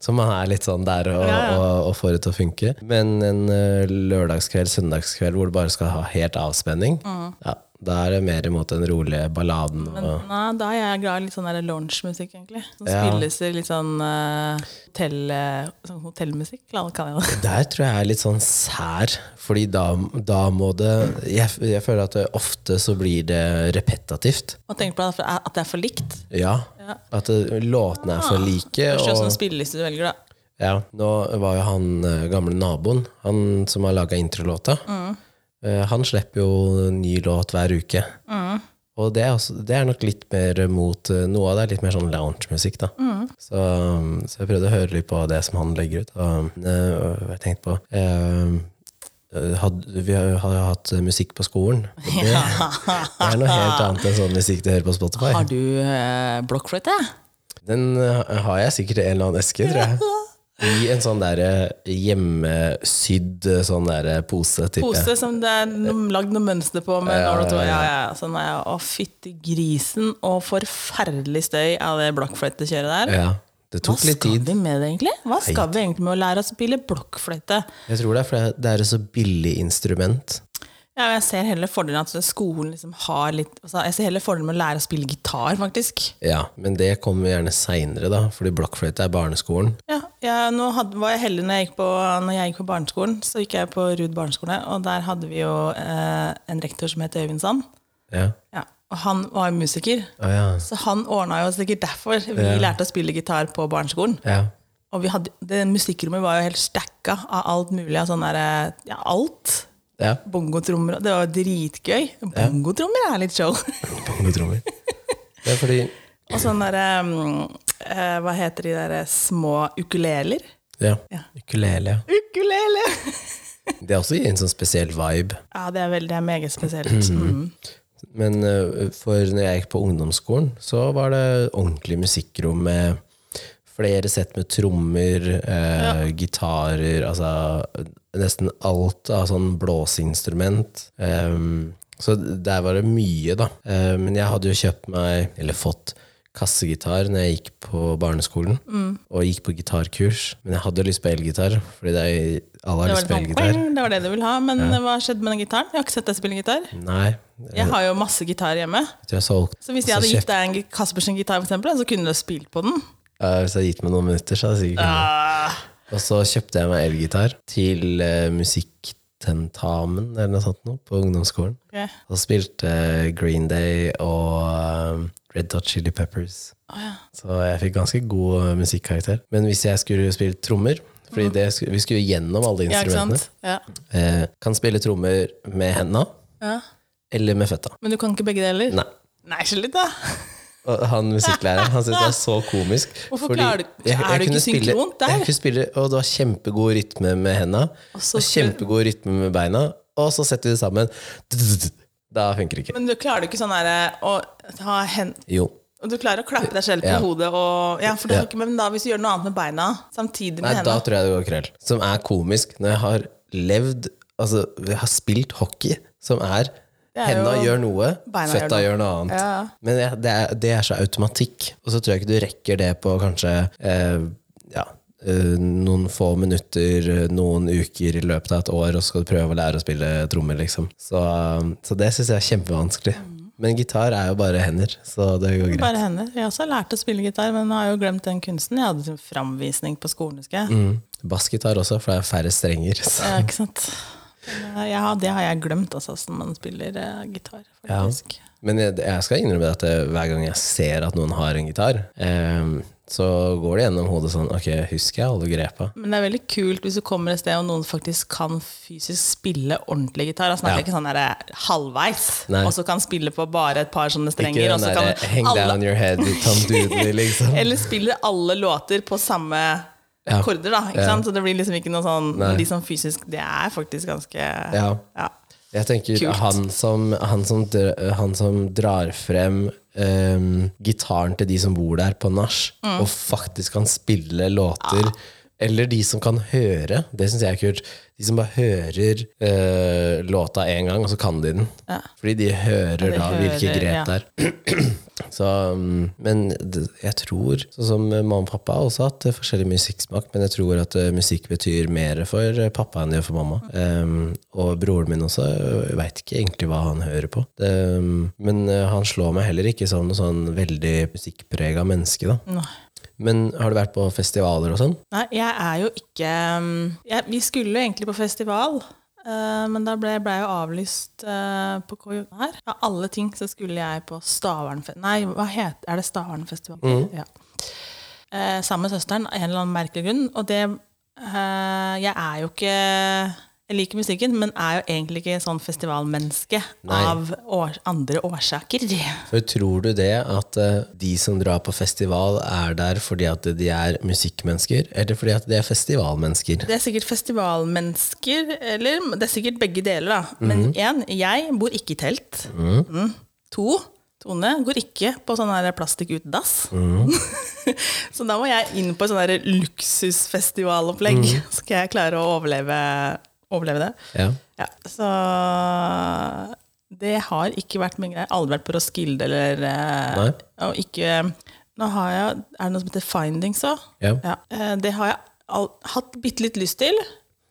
[SPEAKER 1] Så man er litt sånn der og, og, og får det til å funke. Men en eh, lørdagskveld, søndagskveld hvor du bare skal ha helt avspenning, ja, da er det mer imot den rolige balladen. Og,
[SPEAKER 2] Nei, da er jeg glad i litt sånn der lounge-musikk, egentlig. Som
[SPEAKER 1] Ja.
[SPEAKER 2] spilles i litt sånn eh, hotell, eh, sånn hotellmusikk. La det kalle det.
[SPEAKER 1] der tror jeg er litt sånn sær, fordi da, da må det jeg, jeg føler at det, ofte så blir det repetativt.
[SPEAKER 2] Og tenk på at det er- at det er for likt.
[SPEAKER 1] Ja.
[SPEAKER 2] Ja.
[SPEAKER 1] At det, låtene er for like.
[SPEAKER 2] Først
[SPEAKER 1] og-
[SPEAKER 2] sånn spilleliste du velger, da.
[SPEAKER 1] Ja, nå var jo han eh, gamle naboen, han som har laga introlåta.
[SPEAKER 2] Mm.
[SPEAKER 1] Eh, Han slipper jo ny låt hver uke.
[SPEAKER 2] Mm.
[SPEAKER 1] Og det er, også, det er nok litt mer mot eh, Noe av det er litt mer sånn lounge-musikk, da.
[SPEAKER 2] Mm.
[SPEAKER 1] Så, um, så jeg prøvde å høre litt på det som han legger ut. Og eh, jeg tenkte på eh, had, Vi har jo har jo hatt eh, musikk på skolen. Og det, det er noe helt annet enn sånn musikk du hører på Spotify.
[SPEAKER 2] Har du eh, blokkfløyte?
[SPEAKER 1] Den eh, har jeg sikkert i en eller annen eske, tror jeg. I en sånn der eh, hjemmesydd eh, sånn der pose, tipper jeg.
[SPEAKER 2] Pose som det er no- lagd noe mønster på med nål og tråd. Ja, ja, ja. Sånn er jeg. Å, fytti grisen, og forferdelig støy av det blokkfløytekjøret der.
[SPEAKER 1] Ja, det
[SPEAKER 2] Hva
[SPEAKER 1] tok litt
[SPEAKER 2] skal
[SPEAKER 1] tid.
[SPEAKER 2] vi med det, egentlig? Hva skal vi egentlig med å lære oss å spille blokkfløyte?
[SPEAKER 1] Jeg tror det er fordi det er et så billig instrument.
[SPEAKER 2] Ja, men jeg ser heller fordelen at skolen liksom har litt altså, Jeg ser heller fordelen med å lære å spille gitar, faktisk.
[SPEAKER 1] Ja, men det kommer gjerne seinere, da, fordi blokkfløyte er barneskolen.
[SPEAKER 2] Ja, jeg, nå hadde, var jeg heldig når jeg, gikk på, når jeg gikk på barneskolen. Så gikk jeg på Ruud barneskole, og der hadde vi jo eh, en rektor som het Øyvind Sand.
[SPEAKER 1] Ja.
[SPEAKER 2] Ja, og han var jo musiker.
[SPEAKER 1] Å ja.
[SPEAKER 2] Så han ordna jo sikkert derfor. Vi lærte å spille gitar på barneskolen.
[SPEAKER 1] ja.
[SPEAKER 2] Og vi hadde, det musikkrommet var jo helt stacka av alt mulig. Av sånn derre Ja, alt.
[SPEAKER 1] Ja.
[SPEAKER 2] Bongotrommer. og Det var jo dritgøy. Bongotrommer er litt show.
[SPEAKER 1] Bongotrommer. Det er fordi
[SPEAKER 2] Og sånn derre mm, eh, Hva heter de derre små ukuleler?
[SPEAKER 1] Ja.
[SPEAKER 2] Ja.
[SPEAKER 1] Ukulele. ja.
[SPEAKER 2] Ukulele!
[SPEAKER 1] Det er også gir en sånn spesiell vibe.
[SPEAKER 2] Ja, det er veldig det er meget spesielt. Mm.
[SPEAKER 1] Men eh, for når jeg gikk på ungdomsskolen, så var det ordentlig musikkrom med flere sett med trommer, eh, gitarer, altså nesten alt av sånn blåseinstrument. Em, så der var det mye, da. Eh, men jeg hadde jo kjøpt meg, eller fått, kassegitar når jeg gikk på barneskolen.
[SPEAKER 2] Mm.
[SPEAKER 1] Og gikk på gitarkurs. Men jeg hadde jo lyst på elgitar, fordi det er, alle har
[SPEAKER 2] Det, var
[SPEAKER 1] lyst på
[SPEAKER 2] litt sånn,
[SPEAKER 1] elgitar.
[SPEAKER 2] «Boing», det var det du ville ha. Men hva skjedde med den gitaren? Jeg har ikke sett deg spille gitar.
[SPEAKER 1] Nei. Jeg
[SPEAKER 2] Jeg har jo masse gitar hjemme.
[SPEAKER 1] tror jeg solgte
[SPEAKER 2] Så hvis jeg
[SPEAKER 1] så
[SPEAKER 2] hadde
[SPEAKER 1] kjøpte
[SPEAKER 2] gitt deg en Caspers gitar, for eksempel, så kunne du spilt på den.
[SPEAKER 1] Ja, Eh, Hvis jeg hadde gitt meg noen minutter, så hadde jeg sikkert kunnet.
[SPEAKER 2] Ah,
[SPEAKER 1] Og så kjøpte jeg meg elgitar til eh, musikktentamen eller noe sånt nå, på ungdomsskolen.
[SPEAKER 2] ok.
[SPEAKER 1] Og spilte eh, Green Day og eh, Red Hot Chili Peppers.
[SPEAKER 2] Å ja.
[SPEAKER 1] Så jeg fikk ganske god eh, musikkarakter. Men hvis jeg skulle spilt trommer fordi det, skulle- vi skulle gjennom alle
[SPEAKER 2] ja, ikke
[SPEAKER 1] instrumentene.
[SPEAKER 2] sant? Ja.
[SPEAKER 1] eh, kan spille trommer med henda
[SPEAKER 2] Ja.
[SPEAKER 1] eller med føtta.
[SPEAKER 2] Men du kan ikke begge deler?
[SPEAKER 1] Nei.
[SPEAKER 2] Nei, så litt, da.
[SPEAKER 1] Og han musikklæreren han syntes det var så komisk.
[SPEAKER 2] Hvorfor klarer du- er du ikke
[SPEAKER 1] kunne spille-
[SPEAKER 2] synkront der?
[SPEAKER 1] Jeg kunne spille, og det var kjempegod rytme med henda, og,
[SPEAKER 2] så skulle-
[SPEAKER 1] kjempegod rytme med beina, og så setter vi det sammen. Da funker det ikke.
[SPEAKER 2] Men du klarer jo ikke sånn derre å ha hen...
[SPEAKER 1] Jo.
[SPEAKER 2] Og du klarer å klappe deg selv på
[SPEAKER 1] Ja.
[SPEAKER 2] hodet og Ja, for det
[SPEAKER 1] Ja.
[SPEAKER 2] har ikke, men da hvis du gjør noe annet med beina samtidig med
[SPEAKER 1] Nei, da
[SPEAKER 2] hendene
[SPEAKER 1] tror jeg det går krøll. Som er komisk når jeg har levd Altså, jeg har spilt hockey, som er,
[SPEAKER 2] Det er
[SPEAKER 1] Henda
[SPEAKER 2] jo-
[SPEAKER 1] gjør noe,
[SPEAKER 2] Beina gjør
[SPEAKER 1] føtta
[SPEAKER 2] noe.
[SPEAKER 1] gjør noe annet.
[SPEAKER 2] Ja.
[SPEAKER 1] Men det, det, er, det er så automatikk. Og så tror jeg ikke du rekker det på kanskje eh, ja, eh, noen få minutter, eh, noen uker i løpet av et år, og så skal du prøve å lære å spille trommer, liksom. Så, eh, så det syns jeg er kjempevanskelig.
[SPEAKER 2] Mm.
[SPEAKER 1] Men gitar er jo bare hender, så det går greit.
[SPEAKER 2] Bare hender. Jeg har også lært å spille gitar, men har jo glemt den kunsten. Jeg hadde sånn framvisning på skolen, husker jeg.
[SPEAKER 1] Mm. Bassgitar også, for det er færre strenger. Så.
[SPEAKER 2] Ja, ikke sant? Men, eh, jeg har- det har jeg glemt, altså, som man spiller eh, gitar. faktisk.
[SPEAKER 1] Men jeg, jeg skal innrømme at det, hver gang jeg ser at noen har en gitar, eh, så går det gjennom hodet sånn Ok, husker jeg alle grepa?
[SPEAKER 2] Men det er veldig kult hvis du kommer et sted og noen faktisk kan fysisk spille ordentlig gitar. Jeg snakker
[SPEAKER 1] Ja.
[SPEAKER 2] ikke sånn der, halvveis,
[SPEAKER 1] Nei.
[SPEAKER 2] og så kan spille på bare et par sånne
[SPEAKER 1] Ikke
[SPEAKER 2] strenger.
[SPEAKER 1] den
[SPEAKER 2] Og så
[SPEAKER 1] derre
[SPEAKER 2] altså, kan
[SPEAKER 1] 'hang down
[SPEAKER 2] alle,
[SPEAKER 1] your head', Tom Doodley, liksom.
[SPEAKER 2] eller spiller alle låter på samme
[SPEAKER 1] Ja.
[SPEAKER 2] akkorder, da. Ikke
[SPEAKER 1] Ja.
[SPEAKER 2] sant? Så det blir liksom ikke noe sånn
[SPEAKER 1] Nei.
[SPEAKER 2] De som fysisk Det er faktisk ganske
[SPEAKER 1] Ja. Jeg tenker
[SPEAKER 2] Kult.
[SPEAKER 1] han som, han, som, dr- han som drar frem ehm, gitaren til de som bor der på nach,
[SPEAKER 2] Mm.
[SPEAKER 1] og faktisk kan spille låter. Eller de som kan høre. Det syns jeg er kult. De som bare hører eh, låta én gang, og så kan de den. Fordi de hører
[SPEAKER 2] de
[SPEAKER 1] da hvilke
[SPEAKER 2] hører,
[SPEAKER 1] grep
[SPEAKER 2] ja.
[SPEAKER 1] det er. Så, um, men d- jeg tror, sånn som mamma og pappa har også hatt eh, forskjellig musikksmak, men jeg tror at eh, musikk betyr mer for eh, pappa enn det gjør for mamma. Um, og broren min også, jeg veit ikke egentlig hva han hører på. Um, men eh, han slår meg heller ikke som noe sånn veldig musikkprega menneske, da.
[SPEAKER 2] Nei.
[SPEAKER 1] Men har du vært på festivaler og sånn?
[SPEAKER 2] Nei, jeg er jo ikke um, jeg, Vi skulle jo egentlig på festival, eh, men da ble, ble jeg jo avlyst eh, på KJ her. Av alle ting så skulle jeg på Stavernfest... Nei, hva het, er det Stavernfestival? Ja. Eh, sammen med søsteren, av en eller annen merkelig grunn. Og det eh, Jeg er jo ikke jeg liker musikken, men er jo egentlig ikke sånn festivalmenneske
[SPEAKER 1] Nei.
[SPEAKER 2] av år, andre årsaker.
[SPEAKER 1] For tror du det at eh, de som drar på festival, er der fordi at de er musikkmennesker, eller fordi at de er festivalmennesker?
[SPEAKER 2] Det er sikkert festivalmennesker, eller det er sikkert begge deler, da. Men én, jeg bor ikke i telt. Mm. To, Tone går ikke på sånn her plastikk ut dass. så da må jeg inn på et sånn her luksusfestivalopplegg. Skal jeg klare å overleve, overleve det?
[SPEAKER 1] Ja.
[SPEAKER 2] Ja, så det har ikke vært min greie. Jeg har Aldri vært på Roskilde eller eh, Og ikke Nå har jeg Er det noe som heter Findings òg?
[SPEAKER 1] Ja.
[SPEAKER 2] eh, det har jeg al hatt bitte litt lyst til,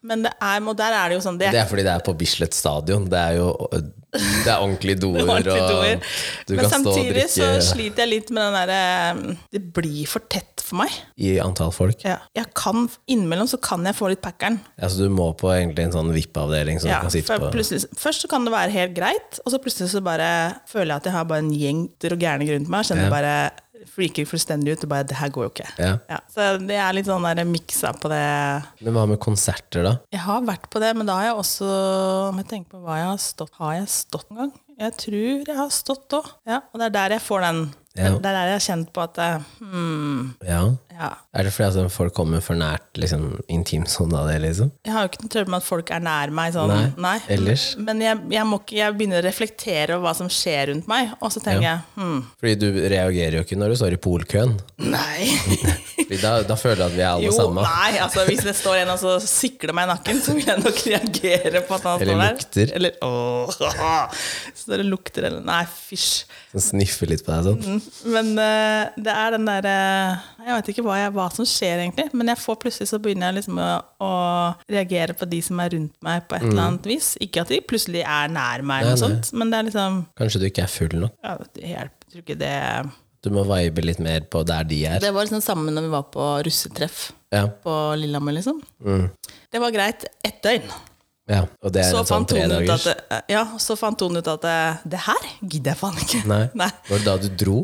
[SPEAKER 2] men det er, og der er det jo sånn det,
[SPEAKER 1] Det er fordi det er på Bislett stadion. Det er jo det er ordentlig doer.
[SPEAKER 2] ordentlig doer.
[SPEAKER 1] og du
[SPEAKER 2] Men
[SPEAKER 1] kan stå og
[SPEAKER 2] samtidig så
[SPEAKER 1] drikke
[SPEAKER 2] sliter jeg litt med den derre eh, Det blir for tett for meg.
[SPEAKER 1] i antall folk.
[SPEAKER 2] Ja. Jeg kan, innimellom så kan jeg få litt packeren.
[SPEAKER 1] Altså, du må på egentlig en sånn VIP-avdeling som
[SPEAKER 2] Ja,
[SPEAKER 1] du kan sitte
[SPEAKER 2] for
[SPEAKER 1] på.
[SPEAKER 2] plutselig- Først så kan det være helt greit, og så plutselig så bare føler jeg at jeg har bare en gjeng og gærne rundt meg. Kjenner
[SPEAKER 1] Ja.
[SPEAKER 2] bare freaker fullstendig ut og bare 'det her går jo ikke'.
[SPEAKER 1] Ja.
[SPEAKER 2] Ja, så det er litt sånn der miksa på det.
[SPEAKER 1] Men hva med konserter, da?
[SPEAKER 2] Jeg har vært på det, men da har jeg også Om jeg tenker på hva jeg har stått Har jeg stått en gang? Jeg tror jeg har stått òg. Ja, og det er der jeg får den.
[SPEAKER 1] Ja.
[SPEAKER 2] Det er der jeg har kjent på at eh, hmm,
[SPEAKER 1] Ja.
[SPEAKER 2] ja.
[SPEAKER 1] Er det fordi at folk kommer for nært liksom, intimsona di, liksom?
[SPEAKER 2] Jeg har jo ikke noe trøbbel med at folk er nær meg. Sånn.
[SPEAKER 1] Nei,
[SPEAKER 2] Nei,
[SPEAKER 1] ellers?
[SPEAKER 2] Men jeg, jeg, må ikke, jeg begynner å reflektere over hva som skjer rundt meg, og så tenker jeg hm,
[SPEAKER 1] Fordi du reagerer jo ikke når du står i polkøen.
[SPEAKER 2] nei.
[SPEAKER 1] Fordi Da, da føler du at vi er alle
[SPEAKER 2] Jo,
[SPEAKER 1] samme.
[SPEAKER 2] nei, altså hvis det står en og så sikler meg i nakken, så vil jeg nok reagere på at han
[SPEAKER 1] Eller
[SPEAKER 2] står der.
[SPEAKER 1] lukter.
[SPEAKER 2] Eller åh, Så det lukter eller Nei, fysj.
[SPEAKER 1] Som sniffer litt på deg sånn.
[SPEAKER 2] Mm. Men eh, det er den derre Jeg vet ikke hva, jeg, hva som skjer, egentlig. Men jeg får plutselig så begynner jeg liksom å, å reagere på de som er rundt meg, på et eller annet vis. Ikke at de plutselig er nær meg, eller
[SPEAKER 1] Mm. Nei,
[SPEAKER 2] noe
[SPEAKER 1] nei.
[SPEAKER 2] sånt, men det er liksom
[SPEAKER 1] Kanskje du ikke er full nok.
[SPEAKER 2] ja, det hjelper, tror ikke det
[SPEAKER 1] Du må vibe litt mer på der de er.
[SPEAKER 2] Det var liksom samme når vi var på russetreff
[SPEAKER 1] Ja.
[SPEAKER 2] på Lillehammer, liksom. Det var greit ett døgn.
[SPEAKER 1] Mm. ja. Og det er
[SPEAKER 2] Så
[SPEAKER 1] en sånn
[SPEAKER 2] fant, hun ut at,
[SPEAKER 1] tredagers.
[SPEAKER 2] det- ja, så fant hun ut at det, det her gidder jeg faen ikke.
[SPEAKER 1] Nei.
[SPEAKER 2] Nei.
[SPEAKER 1] Var det da du dro?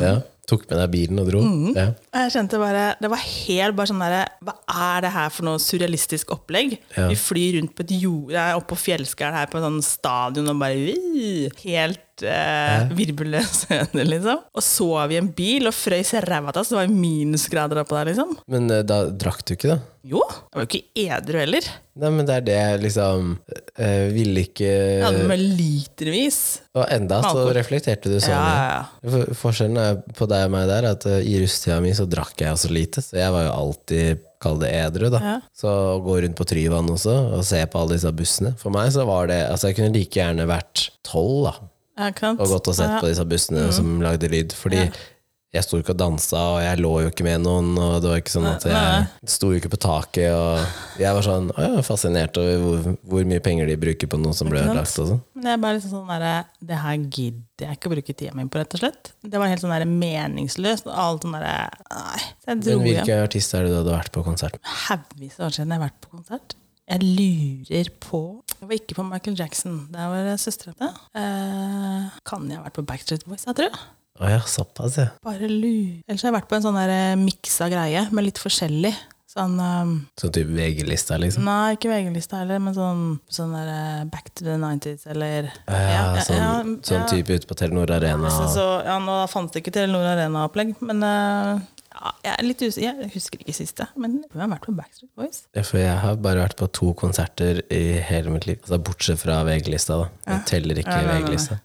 [SPEAKER 1] Ja. Tok med deg bilen og dro? Ja.
[SPEAKER 2] Og Jeg kjente bare, Det var helt bare sånn derre Hva er det her for noe surrealistisk opplegg?
[SPEAKER 1] Ja.
[SPEAKER 2] Vi flyr rundt på et jord Jeg er oppe på fjellskall her på en sånn stadion og bare «Ui!» Helt eh, virvelløs høne, liksom. Og sov i en bil og frøys ræva av oss. Det var jo minusgrader oppå der, liksom.
[SPEAKER 1] Men eh, da drakk du ikke, da?
[SPEAKER 2] Jo, jeg var jo ikke edru heller.
[SPEAKER 1] Nei, men det er det jeg liksom eh, Ville ikke Eh.
[SPEAKER 2] Jeg hadde med litervis.
[SPEAKER 1] Og enda så
[SPEAKER 2] Alkohol.
[SPEAKER 1] reflekterte du sånn.
[SPEAKER 2] Ja,
[SPEAKER 1] Ja.
[SPEAKER 2] ja, ja.
[SPEAKER 1] For- Forskjellen er på deg og meg der at eh, i russetida mi så drakk jeg så lite, så jeg var jo alltid Kall det edru, da. Så å gå rundt på Tryvann også og se på alle disse bussene For meg så var det Altså, jeg kunne like gjerne vært tolv, da.
[SPEAKER 2] Ja, Mm. ikke sant?
[SPEAKER 1] og gått og sett på disse bussene som lagde lyd. Fordi jeg sto ikke og dansa, og jeg lå jo ikke med noen. Og det var ikke sånn at jeg sto jo ikke på taket. Og jeg var sånn «Å, jeg er fascinert over hvor, hvor mye penger de bruker på noe som ble ødelagt. Og sånn.
[SPEAKER 2] Men jeg er bare liksom sånn der, Det her gidder jeg ikke å bruke tida mi på, rett og slett. Det var helt sånn der meningsløst. og Alt sånn derre Nei. Så jeg
[SPEAKER 1] Men
[SPEAKER 2] dro hjem.
[SPEAKER 1] hvilke artister er det du hadde vært på konsert med?
[SPEAKER 2] Haugvis av år siden jeg har vært på konsert. Jeg lurer på Jeg var ikke på Michael Jackson. Der var det søstera mi. Eh, kan jeg ha vært på Backstreet Boys, jeg tror jeg.
[SPEAKER 1] Å ja, såpass, ja.
[SPEAKER 2] Bare lu. Ellers har jeg vært på en sånn der eh, miksa greie med litt forskjellig. Sånn eh,
[SPEAKER 1] Sånn type VG-lista, liksom.
[SPEAKER 2] Nei, ikke VG-lista heller, men sånn, sånn der eh, Back to the 90s eller
[SPEAKER 1] Ja, sånn, sånn
[SPEAKER 2] Mm. ja.
[SPEAKER 1] type ute på Telenor Arena.
[SPEAKER 2] Så, så, ja, nå fantes det ikke Telenor Arena-opplegg, men eh, ja, jeg, er litt us jeg husker ikke siste. Men jeg har vært på Backstreet Boys.
[SPEAKER 1] Ja, For jeg har bare vært på to konserter i hele mitt liv. Altså Bortsett fra VG-lista, da. Jeg teller ikke VG-lista.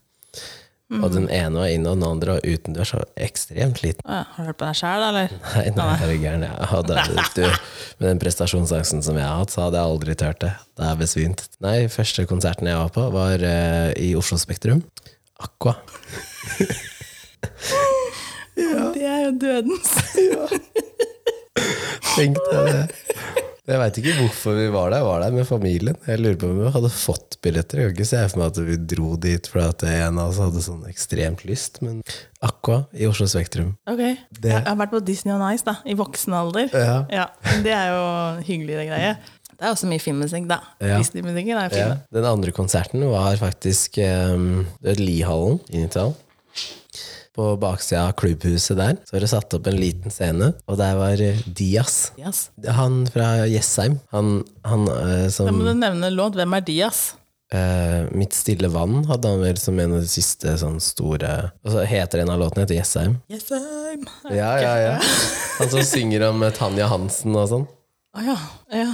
[SPEAKER 1] Og den ene var inne, og den andre var utendørs. Og ekstremt liten.
[SPEAKER 2] Å ja, har du hørt på deg sjæl, eller?
[SPEAKER 1] Nei, nei, er du gæren. Jeg hadde du, Med den prestasjonsangsten som jeg har hatt, så hadde jeg aldri turt det. Det er besvimt. Nei, første konserten jeg var på, var eh, i Oslo Spektrum. Aqua.
[SPEAKER 2] Det er jo dødens.
[SPEAKER 1] Tenk deg det. Jeg veit ikke hvorfor vi var der. Jeg var der med familien. Jeg lurer på om vi hadde fått billetter. Jeg kan ikke se for meg at vi dro dit fordi at en av oss hadde sånn ekstremt lyst, men Aqua i Oslo Spektrum.
[SPEAKER 2] Ok. Jeg jeg har vært på Disney on Ice da, i voksen alder.
[SPEAKER 1] Ja.
[SPEAKER 2] Det er jo hyggeligere greie. Det er også mye filmmusikk, da.
[SPEAKER 1] Ja.
[SPEAKER 2] Disney-musikken er jo fin.
[SPEAKER 1] Ja.
[SPEAKER 2] da.
[SPEAKER 1] Den andre konserten var faktisk um, Lihallen i Nittedal. På baksida av klubbhuset der Så var det satt opp en liten scene, og der var eh, Dias.
[SPEAKER 2] Yes.
[SPEAKER 1] Han fra Jessheim. Han, han eh,
[SPEAKER 2] Da
[SPEAKER 1] som
[SPEAKER 2] må du nevne en låt. Hvem er Dias?
[SPEAKER 1] eh, Mitt stille vann hadde han vel som en av de siste sånn store Og så heter en av låtene heter Jessheim.
[SPEAKER 2] Yes, I'm Å
[SPEAKER 1] Ja, ja, ja. Han som synger om eh, Tanja Hansen og sånn.
[SPEAKER 2] Ah, ja. ja.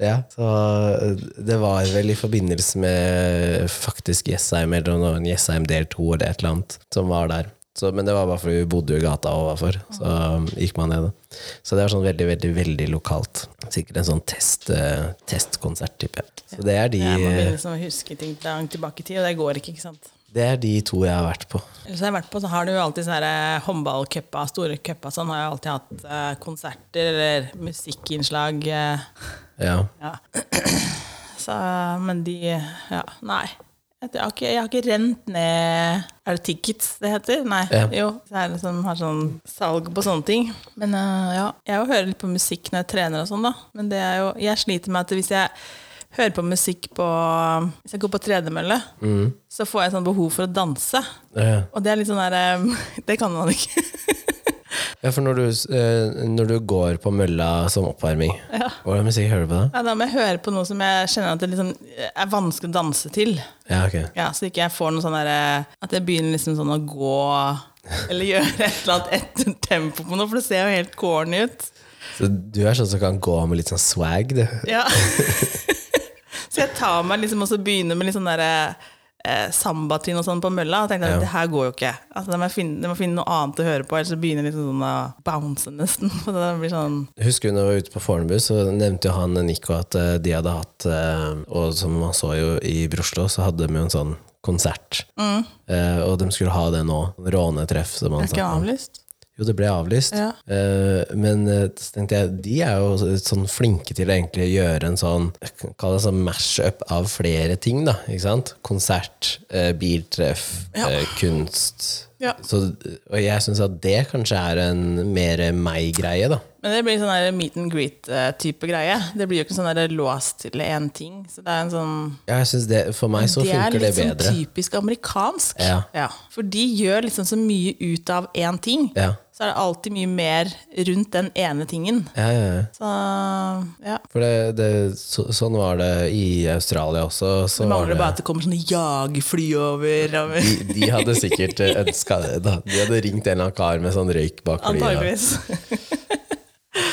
[SPEAKER 1] Ja, så eh, det var vel i forbindelse med faktisk Jessheim, eller noe, en Jessheim del 2 eller et eller annet, som var der. Så, men det var bare fordi vi bodde jo i gata overfor, så um, gikk man ned. da. Så det var sånn veldig, veldig veldig lokalt. Sikkert en sånn test, eh, testkonsert, tipper jeg. Så det er,
[SPEAKER 2] Jeg må
[SPEAKER 1] de,
[SPEAKER 2] begynne som å huske ting langt tilbake i tid, og det går ikke. ikke sant?
[SPEAKER 1] det er de to jeg har vært på.
[SPEAKER 2] Ellers har jeg vært på, så har du jo alltid sånne her, eh, håndballcupa, store cupa, sånn har jeg alltid hatt eh, konserter eller musikkinnslag. eh,
[SPEAKER 1] Ja.
[SPEAKER 2] ja. Så, men de Ja, nei. Jeg har ikke, jeg har ikke rent ned Er det tickets det heter? Nei.
[SPEAKER 1] Ja.
[SPEAKER 2] Jo. Så er det som har sånn salg på sånne ting. Men eh, ja, jeg jo hører litt på musikk når jeg trener og sånn, da. Men det er jo Jeg sliter med at hvis jeg hører på musikk på Hvis jeg går på tredemølle, så får jeg sånn behov for å danse.
[SPEAKER 1] Ja,
[SPEAKER 2] Og det er litt sånn der eh, Det kan man ikke.
[SPEAKER 1] Ja, for når du, eh, når du går på mølla som oppvarming, hvordan musikk hører du på da?
[SPEAKER 2] Ja, da må jeg høre på noe som jeg kjenner at det liksom er vanskelig å danse til.
[SPEAKER 1] Ja, ok.
[SPEAKER 2] Ja, så ikke jeg får noe sånn derre At jeg begynner liksom sånn å gå eller gjøre et eller annet etter tempo på noe, for det ser jo helt corny ut.
[SPEAKER 1] Så du er sånn som kan gå med litt sånn swag, du.
[SPEAKER 2] Ja. så jeg tar meg liksom og så begynner med litt sånn derre eh, sambatrinn og sånn på mølla, og tenkte at det her går jo ikke. Altså, jeg, må jeg finne, jeg må finne noe annet å høre på, ellers så begynner jeg liksom sånn å bounce nesten. Og det blir sånn
[SPEAKER 1] husker vi når vi var ute på Fornebu, så nevnte jo han Nico at eh, de hadde hatt eh, Og som man så jo i Broslo, så hadde de jo en sånn konsert. Eh, Og de skulle ha det nå. Rånetreff, som han
[SPEAKER 2] Er ikke
[SPEAKER 1] sa.
[SPEAKER 2] avlyst?
[SPEAKER 1] Jo, det ble avlyst.
[SPEAKER 2] Ja.
[SPEAKER 1] Eh, Men eh, så tenkte jeg, de er jo sånn flinke til å egentlig gjøre en sånn Kall det sånn mash-up av flere ting, da. Ikke sant? Konsert, eh, biltreff,
[SPEAKER 2] Ja.
[SPEAKER 1] eh, kunst.
[SPEAKER 2] Ja.
[SPEAKER 1] Så, og jeg syns at det kanskje er en mer meg-greie, da.
[SPEAKER 2] Men det blir sånn der meet and greet-type greie. Det blir jo ikke sånn der låst til én ting. Så det er en sånn
[SPEAKER 1] Ja, jeg synes det, For meg så
[SPEAKER 2] det er
[SPEAKER 1] funker det
[SPEAKER 2] litt sånn
[SPEAKER 1] bedre.
[SPEAKER 2] typisk amerikansk.
[SPEAKER 1] Ja.
[SPEAKER 2] For de gjør liksom så mye ut av én ting.
[SPEAKER 1] Ja.
[SPEAKER 2] Så er det alltid mye mer rundt den ene tingen.
[SPEAKER 1] Ja, ja, ja.
[SPEAKER 2] Så ja.
[SPEAKER 1] For det, det, så, sånn var det i Australia også. Så
[SPEAKER 2] Det
[SPEAKER 1] var
[SPEAKER 2] mangler
[SPEAKER 1] det,
[SPEAKER 2] bare at det kommer sånne jagerfly over. over.
[SPEAKER 1] de, de hadde sikkert eh, ønska det. Da. De hadde ringt en eller annen kar med sånn røyk bak flyet.
[SPEAKER 2] Antageligvis.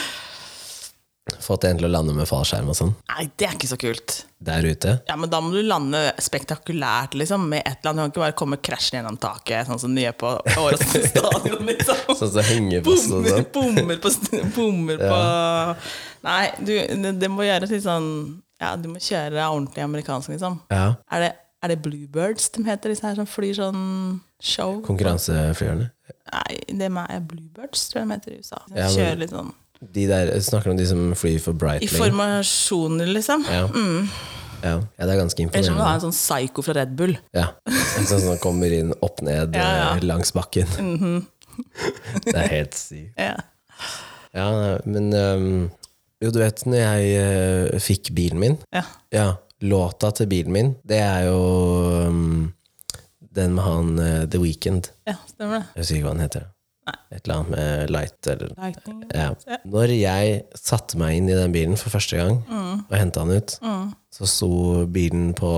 [SPEAKER 1] og Fått en til å lande med fallskjerm og sånn
[SPEAKER 2] Nei, det er ikke så kult.
[SPEAKER 1] der ute.
[SPEAKER 2] Ja, men da må du lande spektakulært, liksom, med et eller annet. Du kan ikke bare komme krasjende gjennom taket, sånn som de gjør på Åråsen stadion, liksom.
[SPEAKER 1] Sånn som henger fast og
[SPEAKER 2] Bommer,
[SPEAKER 1] sånn.
[SPEAKER 2] bommer på st- Bommer på Nei, du, det, det må gjøres litt sånn Ja, du må kjøre ordentlig amerikansk, liksom.
[SPEAKER 1] Ja.
[SPEAKER 2] Er det, er det Bluebirds de heter, disse her som flyr sånn show?
[SPEAKER 1] Konkurranseflyerne.
[SPEAKER 2] Nei, det er Bluebirds, tror jeg de heter i USA. De
[SPEAKER 1] Ja, men-
[SPEAKER 2] kjører litt sånn
[SPEAKER 1] De der, snakker om de som flyr for
[SPEAKER 2] I
[SPEAKER 1] Brightling.
[SPEAKER 2] formasjoner, liksom.
[SPEAKER 1] Ja. Ja. ja, det er ganske
[SPEAKER 2] Eller som å
[SPEAKER 1] imponerende.
[SPEAKER 2] ha en sånn psyko fra Red Bull.
[SPEAKER 1] Ja. En sånn som kommer inn opp ned
[SPEAKER 2] Ja, Mhm. ja.
[SPEAKER 1] eh, langs bakken. Det er helt sykt. ehm,
[SPEAKER 2] Ja.
[SPEAKER 1] Ja, nei, men øhm, Jo, du vet, når jeg øh, eh, fikk bilen min
[SPEAKER 2] Ja.
[SPEAKER 1] Ja, Låta til bilen min, det er jo um, den med han eh, The Weekend.
[SPEAKER 2] Ja, stemmer det.
[SPEAKER 1] Jeg husker ikke hva han heter.
[SPEAKER 2] Nei.
[SPEAKER 1] Et eller annet med Light eller
[SPEAKER 2] Lightning.
[SPEAKER 1] ja.
[SPEAKER 2] Ja.
[SPEAKER 1] Når jeg satte meg inn i den bilen for første gang
[SPEAKER 2] Mm.
[SPEAKER 1] og henta den ut, så sto bilen på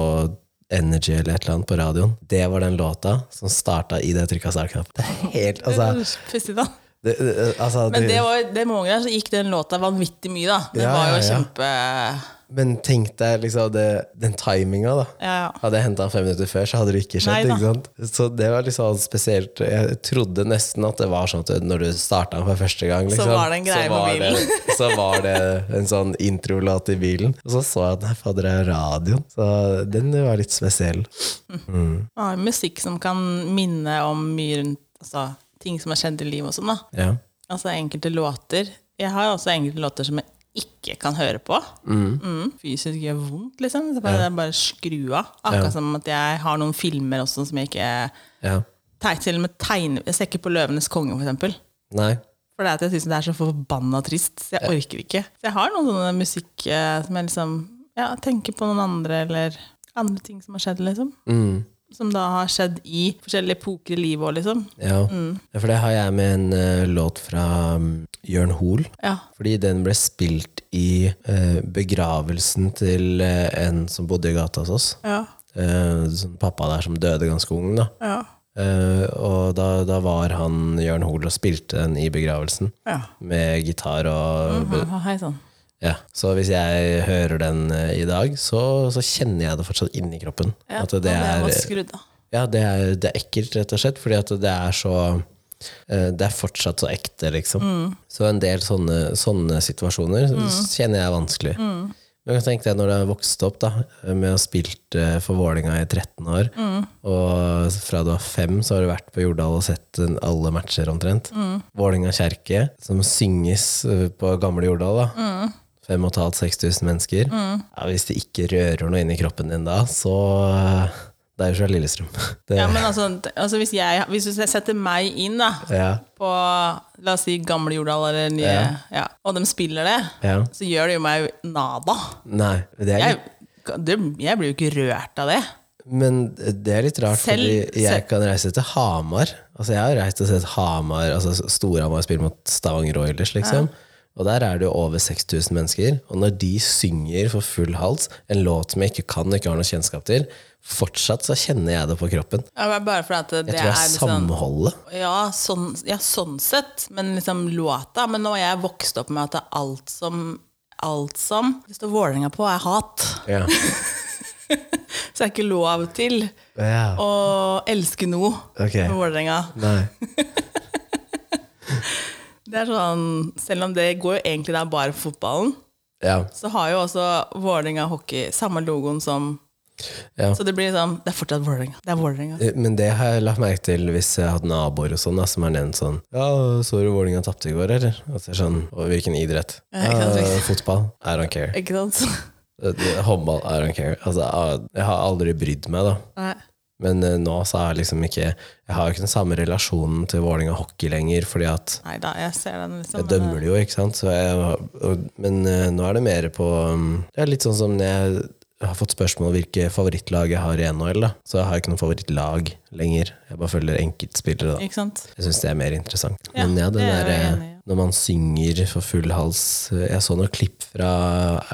[SPEAKER 1] Energy eller et eller annet på radioen. Det var den låta som starta i det trykka start-knappen. Det er helt Altså,
[SPEAKER 2] Pissig, da.
[SPEAKER 1] det, det- altså
[SPEAKER 2] Men det
[SPEAKER 1] det,
[SPEAKER 2] var, det med unger der, så gikk den låta vanvittig mye, da. Det
[SPEAKER 1] Ja,
[SPEAKER 2] var jo
[SPEAKER 1] ja, ja.
[SPEAKER 2] kjempe
[SPEAKER 1] men tenk deg liksom det, den timinga, da.
[SPEAKER 2] Ja, ja.
[SPEAKER 1] Hadde jeg henta den fem minutter før, så hadde det ikke skjedd.
[SPEAKER 2] Nei da.
[SPEAKER 1] ikke sant? Så det var liksom spesielt. Jeg trodde nesten at det var sånn at når du starta den for første gang, liksom,
[SPEAKER 2] var det en greie
[SPEAKER 1] så var
[SPEAKER 2] på bilen.
[SPEAKER 1] Det, så var det en sånn introlåt i bilen. Og så så jeg at nei, fader, det er radioen. Så den var litt spesiell.
[SPEAKER 2] Man har jo musikk som kan minne om mye rundt altså, ting som har skjedd i livet og sånn, da.
[SPEAKER 1] Ja.
[SPEAKER 2] Altså enkelte låter. Jeg har jo også enkelte låter som jeg ikke kan høre på. Mm. Fysisk gjør vondt, liksom. Så bare, bare skru av. Akkurat som at jeg har noen filmer også som jeg ikke
[SPEAKER 1] ja.
[SPEAKER 2] teg- Til og med tegne... Jeg ser ikke på 'Løvenes konge', for eksempel.
[SPEAKER 1] Nei.
[SPEAKER 2] For det er at jeg syns det er så forbanna trist. Så jeg orker ikke. Så jeg har noen sånne musikk eh, som jeg liksom ja, tenker på noen andre, eller andre ting som har skjedd, liksom.
[SPEAKER 1] Mm.
[SPEAKER 2] Som da har skjedd i forskjellige epoker i livet òg, liksom.
[SPEAKER 1] Ja. ja, for det har jeg med en eh, låt fra mm, Jørn Hoel.
[SPEAKER 2] Ja.
[SPEAKER 1] Fordi den ble spilt i eh, begravelsen til eh, en som bodde i gata hos oss.
[SPEAKER 2] Ja.
[SPEAKER 1] Eh, sånn pappa der som døde ganske ung, da.
[SPEAKER 2] Ja.
[SPEAKER 1] Eh, og da, da var han Jørn Hoel og spilte den i begravelsen.
[SPEAKER 2] ja. Mhm.
[SPEAKER 1] Med gitar og
[SPEAKER 2] ja hei sann.
[SPEAKER 1] ja. Så hvis jeg hører den eh, i dag, så, så kjenner jeg det fortsatt inni kroppen.
[SPEAKER 2] Ja,
[SPEAKER 1] at det
[SPEAKER 2] og
[SPEAKER 1] er,
[SPEAKER 2] var skrudd av.
[SPEAKER 1] ja, det er, det er ekkelt, rett og slett, fordi at det er så eh, det er fortsatt så ekte, liksom. Så en del sånne, sånne situasjoner s- kjenner jeg er vanskelig. Men jeg tenkte jeg når jeg vokste opp da, med å ha spilt eh, for Vålinga i 13 år, og fra du var fem, så har du vært på Jordal og sett eh, alle matcher omtrent. Vålinga kjerke, som synges eh, på gamle Jordal, da. 5500-6000 mennesker. Ja, hvis det ikke rører noe inni kroppen din da, så eh, Det er jo fra Lillestrøm. Det,
[SPEAKER 2] Ja, men altså, t- altså hvis, jeg, hvis du setter meg inn da,
[SPEAKER 1] ja,
[SPEAKER 2] på la oss si gamle Jordal eller nye, ja. og de spiller det,
[SPEAKER 1] ja.
[SPEAKER 2] så gjør det jo meg nada.
[SPEAKER 1] Nei, det er,
[SPEAKER 2] Jeg, det, jeg blir jo ikke rørt av det.
[SPEAKER 1] men det er litt rart,
[SPEAKER 2] Selv-
[SPEAKER 1] fordi jeg
[SPEAKER 2] selv-
[SPEAKER 1] kan reise til Hamar. Altså, jeg har reist og sett Hamar, altså Storhamar spille mot Stavanger Oilers, liksom. Og der er det jo over 6000 mennesker. Og når de synger for full hals, en låt som jeg ikke kan og ikke har noe kjennskap til, fortsatt så kjenner jeg det på kroppen.
[SPEAKER 2] Ja, men Bare fordi at det,
[SPEAKER 1] Jeg tror
[SPEAKER 2] det
[SPEAKER 1] det
[SPEAKER 2] er
[SPEAKER 1] er
[SPEAKER 2] litt sånn
[SPEAKER 1] samholdet.
[SPEAKER 2] ja sånn, ja, sånn sett. Men liksom låta Men nå har jeg vokst opp med at det er alt som Alt som det står Vålerenga på, er hat.
[SPEAKER 1] Ja.
[SPEAKER 2] Så det er ikke lov til
[SPEAKER 1] ja.
[SPEAKER 2] å elske noe
[SPEAKER 1] Ok.
[SPEAKER 2] med Vålerenga.
[SPEAKER 1] Nei.
[SPEAKER 2] Det er sånn, Selv om det går jo egentlig der bare for fotballen,
[SPEAKER 1] Ja.
[SPEAKER 2] så har jo også Vålerenga hockey samme logoen som
[SPEAKER 1] Ja.
[SPEAKER 2] Så det blir sånn Det er fortsatt Vålerenga. Det er Vålerenga.
[SPEAKER 1] Eh, Men det har jeg lagt merke til hvis jeg har hatt naboer og sånn da, som har nevnt sånn Ja, så du Vålinga tapte i går, eller? Og så er det sånn, og hvilken idrett?
[SPEAKER 2] Ja, ikke sant,
[SPEAKER 1] «Ja,
[SPEAKER 2] riktig.»
[SPEAKER 1] fotball? I don't care.
[SPEAKER 2] Ikke sant?
[SPEAKER 1] Eh, det- Håndball? I don't care. Altså, ah, jeg har aldri brydd meg, da.
[SPEAKER 2] Nei.
[SPEAKER 1] Men eh, nå så er jeg liksom ikke Jeg har jo ikke den samme relasjonen til Vålinga hockey lenger, fordi at
[SPEAKER 2] Nei da, jeg ser den, liksom.
[SPEAKER 1] jeg dømmer det jo, ikke sant? Så jeg, og, men eh, nå er det mer på um, Det er litt sånn som når jeg har fått spørsmål om hvilke favorittlag jeg har i NHL, da. Så jeg har ikke noe favorittlag lenger. Jeg bare følger enkeltspillere, da.
[SPEAKER 2] Ikke sant?
[SPEAKER 1] Jeg syns det er mer interessant.
[SPEAKER 2] Ja,
[SPEAKER 1] Men ja, det
[SPEAKER 2] det er jeg
[SPEAKER 1] der, eh,
[SPEAKER 2] enig i, ja.
[SPEAKER 1] når man synger for full hals eh, Jeg så noen klipp fra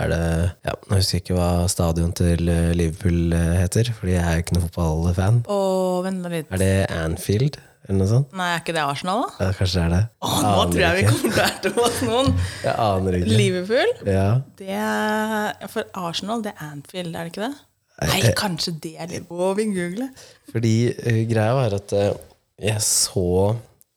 [SPEAKER 1] er det, ja, Nå husker jeg ikke hva stadion til eh, Liverpool eh, heter, fordi jeg er jo ikke noen fotballfan.
[SPEAKER 2] Å, vent nå litt.
[SPEAKER 1] Er det Anfield, eller noe sånt?
[SPEAKER 2] Nei, er ikke det Arsenal, da?
[SPEAKER 1] Ja, kanskje det er det.
[SPEAKER 2] Å, nå tror jeg vi kommer til å erte oss noen.
[SPEAKER 1] Jeg aner ikke.
[SPEAKER 2] Liverpool?
[SPEAKER 1] Ja.
[SPEAKER 2] Det er, For Arsenal, det er Anfield, er det ikke det?
[SPEAKER 1] Eh,
[SPEAKER 2] Nei, kanskje det er Liverpool. Å, vi googler.
[SPEAKER 1] Fordi eh, greia var at eh, jeg så